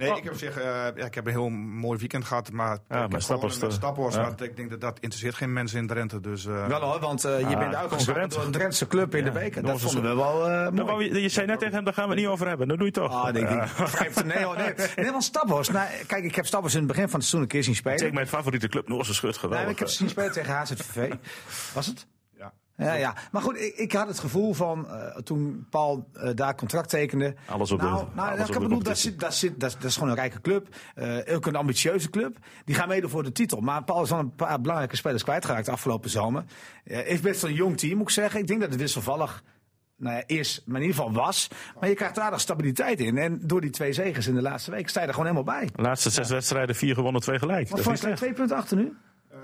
S3: Oh.
S5: Nee, ik, heb op zich, eh, ja, ik heb een heel mooi weekend gehad, maar ik heb
S2: maar
S5: gewoon
S2: Stappers,
S5: met
S2: eh,
S5: Stappers,
S2: ja.
S5: maar ik denk dat dat interesseert geen mensen in Drenthe. Dus, eh,
S3: Wel hoor, want eh, je bent uitgeschakeld
S2: concurrent.
S3: door een Drentse club in de beker. Dat
S2: onze
S3: vonden we wel eh
S2: Dan
S3: mooi.
S2: wou Nou, je, je zei net tegen hem, daar gaan we het niet over hebben. Dat doe je toch.
S3: Ah, denk ik. Geef het- Nee, hoor, nee. nee, want Staphorst. Nou, kijk, ik heb Staphorst in het begin van het seizoen een keer zien spelen.
S4: Nou,
S2: Tegen mijn favoriete club, Noorse Schut, eh.
S3: Nee,
S2: geweldig.
S3: maar ik heb ze zien spelen tegen HZVV. Was het?
S5: Ja.
S3: Ja, ja. Maar goed, ik, ik had het gevoel van eh, toen Paul eh, daar contract tekende.
S2: Alles op de-
S3: nou,
S2: alles
S3: Nou,
S2: op
S3: dat,
S2: de
S3: kan bedoel, dat,
S2: competitie.
S3: zit, dat, zit, dat, dat is gewoon een rijke club. Eh ook een ambitieuze club. Die gaan mede voor de titel. Maar Paul is al een paar belangrijke spelers kwijtgeraakt de afgelopen zomer. Eh heeft best een jong team, moet ik zeggen. Ik denk dat het wisselvallig nou ja, is, maar in ieder geval was. Maar je krijgt aardig stabiliteit in. En door die twee zegens in de laatste week sta je er gewoon helemaal bij.
S2: De laatste zes wedstrijden, vier gewonnen, twee gelijk.
S3: Want
S2: Dat is
S3: voor
S2: niet
S3: staan
S2: slecht.
S3: twee punten achter nu.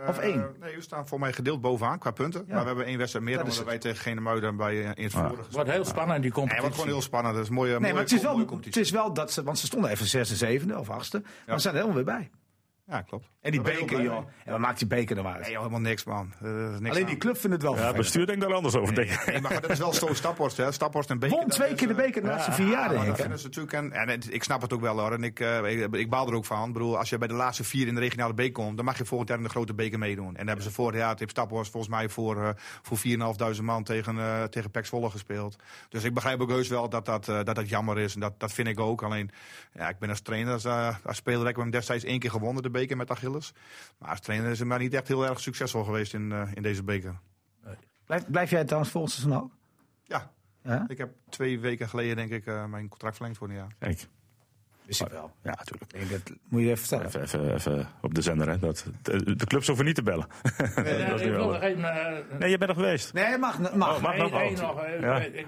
S3: Of
S5: Eh,
S3: één?
S5: nee, we staan voor mij gedeeld bovenaan qua punten. Maar we hebben één wedstrijd meer
S3: Dat
S5: dan
S3: is
S5: dat wij tegen Genemuiden bij eh, in het vorige.
S4: Wordt heel spannend, die
S5: Nee,
S4: competitie.
S5: wordt gewoon heel spannend. Dat is een mooie,
S3: Nee,
S5: mooie,
S3: maar het is,
S5: mooie
S3: wel, het
S5: competitie.
S3: is wel dat ze, want ze stonden even zesde, zevende of achtste. Maar ze zijn er helemaal weer bij.
S5: Ja, klopt.
S3: En die
S5: Daar ben ik
S3: beker,
S5: heel blij
S3: joh. En wat maakt die beker nou uit?
S5: mee. Nee, joh, helemaal niks, man. Eh, niks
S3: Alleen
S5: aan.
S3: die club vindt het wel
S2: Ja, het
S3: vervelend.
S2: bestuur denkt daar anders over. denk ik.
S5: Nee, maar dat is wel zo Staphorst, hè. Staphorst en beker.
S3: Won
S5: dat
S3: twee
S5: is,
S3: keer de
S5: eh,
S3: beker de laatste vier jaar,
S5: Ja,
S3: denk
S5: dat
S3: ik. hè?
S5: vinden ze natuurlijk. En, en het- ik snap het ook wel hoor. En ik, eh, ik, ik baal er ook van. Ik bedoel, als je bij de laatste vier in de regionale beker komt, dan mag je volgend jaar in de grote beker meedoen. En daar hebben ze vorig jaar, het heeft Staphorst volgens mij voor, eh, voor 4.500 man tegen, eh tegen PEC Zwolle gespeeld. Dus ik begrijp ook heus wel dat dat, eh, dat, dat jammer is. En dat, dat vind ik ook. Alleen, ja, ik ben als trainer, als, eh, als speler, heb ik hem destijds één keer gewonnen, de beker met Achilles. Maar als trainer is het maar niet echt heel erg succesvol geweest in, eh, in deze beker.
S3: Blijf, blijf jij trouwens volgens seizoen ook?
S5: Ja.
S3: Ja?
S5: Ik heb twee weken geleden, denk ik, eh, mijn contract verlengd voor een jaar.
S2: Kijk,
S3: Wist ik wel.
S2: ja, natuurlijk.
S3: Ik denk, dat moet je even vertellen.
S2: Even, even, even op de zender, hè. Dat, de, de clubs hoeven niet te bellen.
S4: Ja,
S2: dat is
S4: ik
S2: nu
S4: wil
S2: wel-
S4: nog even, eh,
S2: Nee, je bent er geweest.
S3: Nee, mag. Oh, mag.
S2: mag.
S4: Eén-
S2: nog
S4: één
S2: wel.
S4: nog, eh,
S2: Ja.
S4: ik- ik-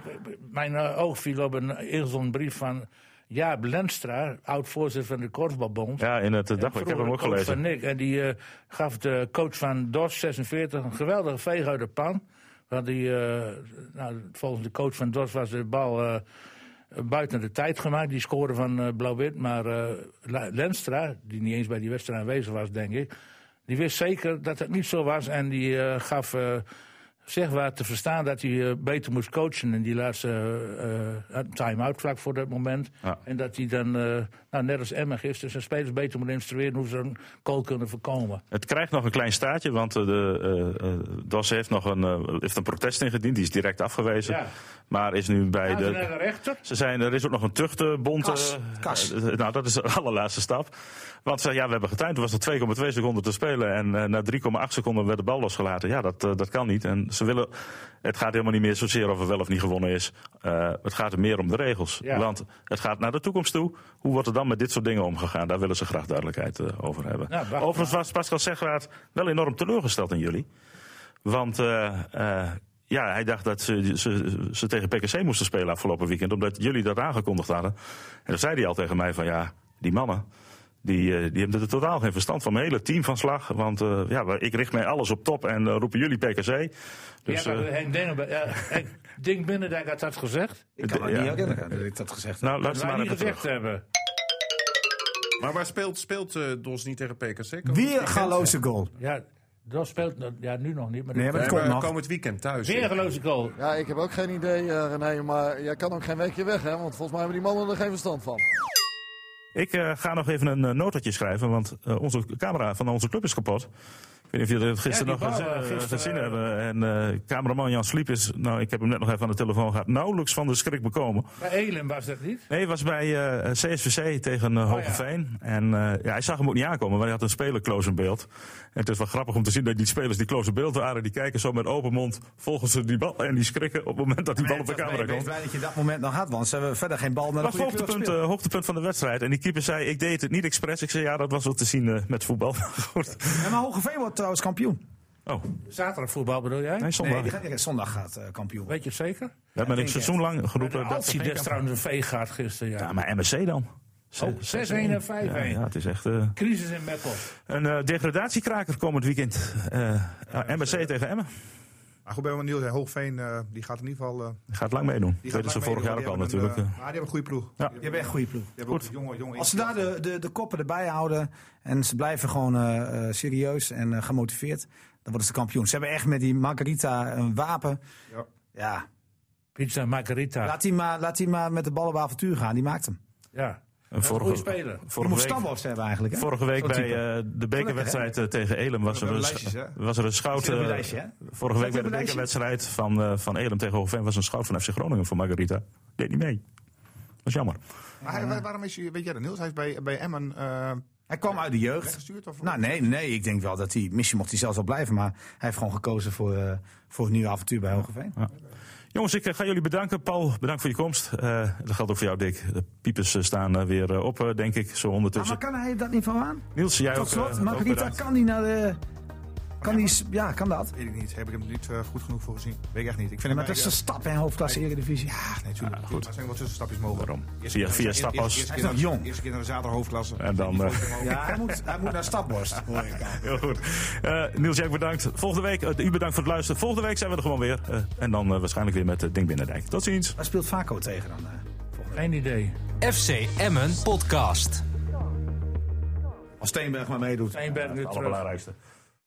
S4: Mijn eh, oog viel op een eerste brief van Jaap Lenstra, oud-voorzitter van de Korfbalbond.
S2: Ja, in het eh, dagblad. Ik heb hem ook
S4: Vroeger coach
S2: gelezen.
S4: Van Nick. En die eh, gaf de coach van DOS 46 een geweldige veeg uit de pan. Want die, eh, nou, volgens de coach van DOS was de bal eh, buiten de tijd gemaakt. Die scoorde van eh, Blauw-Wit. Maar eh, La- Lenstra, die niet eens bij die wedstrijd aanwezig was, denk ik. Die wist zeker dat het niet zo was. En die eh, gaf eh, zeg maar te verstaan dat hij eh, beter moest coachen in die laatste eh, eh, time-out vlak voor dat moment.
S2: Ja.
S4: En dat hij dan, eh, nou, net als Emma gisteren, zijn spelers beter moet instrueren hoe ze een goal kunnen voorkomen.
S2: Het krijgt nog een klein staartje, want eh, de, eh, eh, DAS heeft nog een, eh, heeft een protest ingediend. Die is direct afgewezen.
S4: Ja.
S2: Maar is nu bij
S4: Gaan ze
S2: de.
S4: naar de rechter?
S2: Ze zijn, er is ook nog een tuchtenbond.
S3: Kas,
S2: eh,
S3: kas.
S2: eh, nou, dat is de allerlaatste stap. Want ze, ja, we hebben getimed. Er was nog 2,2 seconden te spelen. En eh, na 3,8 seconden werd de bal losgelaten. Ja, dat, eh, dat kan niet. En ze willen. Het gaat helemaal niet meer zozeer of er wel of niet gewonnen is. Eh, het gaat er meer om de regels.
S4: Ja.
S2: Want het gaat naar de toekomst toe. Hoe wordt er dan met dit soort dingen omgegaan? Daar willen ze graag duidelijkheid eh, over hebben.
S4: Ja, wacht
S2: Overigens was Pascal Zegwaard wel enorm teleurgesteld in jullie. Want eh, eh, ja, hij dacht dat ze, ze, ze tegen PKC moesten spelen afgelopen weekend. Omdat jullie dat aangekondigd hadden. En dan zei hij al tegen mij van ja, die mannen. Die, eh, die hebben er totaal geen verstand van. Mijn hele team van slag. Want eh, ja, we- ik richt mij alles op top en eh, roepen jullie PKC. Dus,
S4: ja, maar
S2: eh,
S4: Henk Dennenbe- ja, Henk Dink Binnendijk had dat gezegd.
S3: Ik kan me
S2: ja.
S3: niet herinneren dat ik dat gezegd heb.
S2: nou,
S4: Dat
S2: luister
S4: wij
S2: maar
S4: niet
S2: even
S4: gezegd
S2: terug.
S4: hebben.
S9: Maar waar speelt, speelt eh, Dos niet tegen PKC? Komend
S3: Weer
S9: weekend?
S3: een galoze goal.
S4: Ja, dat speelt nog- ja, nu nog niet. Maar
S3: Nee, maar
S9: Nee,
S3: dat
S9: maar
S3: komt nog.
S9: eh, komend weekend thuis.
S4: Weer een geloze goal.
S10: Ja, ik heb ook geen idee, eh, René, maar jij kan ook geen weekje weg, hè? Want volgens mij hebben die mannen er geen verstand van.
S2: Ik eh, ga nog even een eh, notetje schrijven. Want eh, onze camera van onze club is kapot. Ik weet niet of jullie het gisteren
S4: Ja, die
S2: nog
S4: bal,
S2: gezien,
S4: eh,
S2: eh,
S4: gisteren,
S2: gezien
S4: eh,
S2: hebben. En eh, cameraman Jan Sliep is, nou ik heb hem net nog even aan de telefoon gehad, nauwelijks van de schrik bekomen.
S4: Bij Elen was dat niet.
S2: Nee, het was bij eh, CSVC tegen
S4: Oh,
S2: eh, Hogeveen. En eh, ja, hij zag hem ook niet aankomen, want hij had een speler close in beeld. En het is wel grappig om te zien dat die spelers die close in beeld waren, die kijken zo met open mond, volgen ze die bal en die schrikken op het moment dat die bal op de camera
S3: Ik ben
S2: komt.
S3: blij dat je dat moment nog had, want ze hebben verder geen bal naar de
S2: Dat was
S3: goede club
S2: hoogtepunt,
S3: gespeeld.
S2: eh, hoogtepunt van de wedstrijd. En die keeper zei, ik deed het niet expres. Ik zei, ja, dat was wel te zien eh, met voetbal. Goed.
S3: Ja, maar Hogeveen wordt trouwens kampioen.
S2: Oh,
S4: Zaterdag voetbal bedoel jij?
S2: nee, zondag.
S3: Nee, die gaat, ja, zondag gaat eh, kampioen.
S4: Weet je het zeker?
S2: dat ben ik seizoenlang geroepen. dat
S4: Als hij des trouwens een veeg gaat gisteren. Ja.
S2: ja, maar MSC dan?
S4: Oh, 6-1 en 5-1.
S2: Ja, ja, het is echt... eh,
S4: Crisis in Meppel.
S2: Een eh, degradatiekraker komend weekend. Eh MSC tegen Emmen.
S5: Maar goed, bij wat Niels en Hoogveen, eh, die gaat in ieder geval... eh,
S2: Gaat lang meedoen.
S5: die
S2: Dat deden
S5: gaat
S2: ze
S5: lang
S2: vorig
S5: meedoen,
S2: jaar ook al
S5: want die
S2: natuurlijk.
S5: hebben een, eh, maar die hebben een goede ploeg.
S2: Ja.
S5: Die
S3: Je
S5: hebben,
S3: bent een goede ploeg.
S5: die hebben ook een jonge, jonge
S3: Als ze daar de, de, de koppen erbij houden en ze blijven gewoon eh, eh, serieus en eh, gemotiveerd, dan worden ze kampioen. Ze hebben echt met die Margarita een wapen.
S5: Ja.
S3: Ja,
S4: Pizza Margarita.
S3: Laat hij maar, laat die maar met de ballen op avontuur gaan. Die maakt hem.
S4: Ja.
S2: eh, een
S4: goede speler.
S3: Je
S2: vorige
S3: moet
S2: week,
S3: stamboos hebben eigenlijk. Hè?
S2: vorige week
S3: Zo'n
S2: bij
S3: type.
S2: eh, de bekerwedstrijd eh, tegen Elem was er,
S5: hebben
S2: een,
S5: lijstjes,
S2: scha-
S5: hè?
S2: was er een schout.
S3: Zit op je
S2: eh,
S3: lijstje, hè?
S2: vorige week bij de
S3: op je lijstje?
S2: bekerwedstrijd van, eh, van Elem tegen Hoogveen was een schout van FC Groningen voor Margarita. Deed niet mee. Dat is jammer.
S5: Maar hij- waar- waarom is hij, weet jij dat Niels, hij is bij, bij Emmen eh,
S3: Hij kwam uit de jeugd.
S5: Weggestuurd of
S3: Nou, nee, nee, ik denk wel dat hij. Misschien mocht hij zelfs wel blijven, maar hij heeft gewoon gekozen voor, eh, voor een nieuw avontuur bij Hogeveen.
S2: Jongens, ik eh, ga jullie bedanken. Paul, bedankt voor je komst. Eh, dat geldt ook voor jou, Dick. De piepers eh, staan eh, weer eh, op, eh, denk ik, zo
S3: Ah,
S2: ondertussen.
S3: maar kan hij dat niveau aan?
S2: Niels, jij
S3: Tot
S2: ook, eh,
S3: slot,
S2: ook
S3: Margarita,
S2: bedankt.
S3: kan die naar de. Kan die, s- ja, kan dat.
S5: Weet ik niet. Heb ik hem er niet eh, goed genoeg voor gezien? Weet ik echt niet. Ik vind
S3: Maar
S5: hem
S3: dat is een
S5: eigenlijk-
S3: stap in hoofdklasse Eredivisie.
S5: Ja, nee, tuurlijk. goed. Maar er zijn wel tussenstapjes mogelijk.
S2: Waarom?
S5: Eerste
S2: Via,
S5: keer-
S2: via
S5: eerste-
S2: Stappas.
S5: eerste keer
S3: Hij is nog
S5: naar-
S3: jong.
S5: Eerste keer naar de zaterdag hoofdklasse.
S2: En dan... eh,
S3: Ja, hij moet, hij moet naar Stadborst.
S2: Heel goed. Eh, Niels, jij ook bedankt. Volgende week, eh, u bedankt voor het luisteren. Volgende week zijn we er gewoon weer. Eh, en dan eh, waarschijnlijk weer met eh, Dink Binnendijk. Tot ziens.
S3: Waar speelt Vaco tegen dan? eh?
S4: Geen idee.
S1: FC Emmen Podcast.
S3: Als Steenberg maar meedoet.
S4: Steenberg nu
S2: Het
S4: terug.
S2: allerbelangrijkste.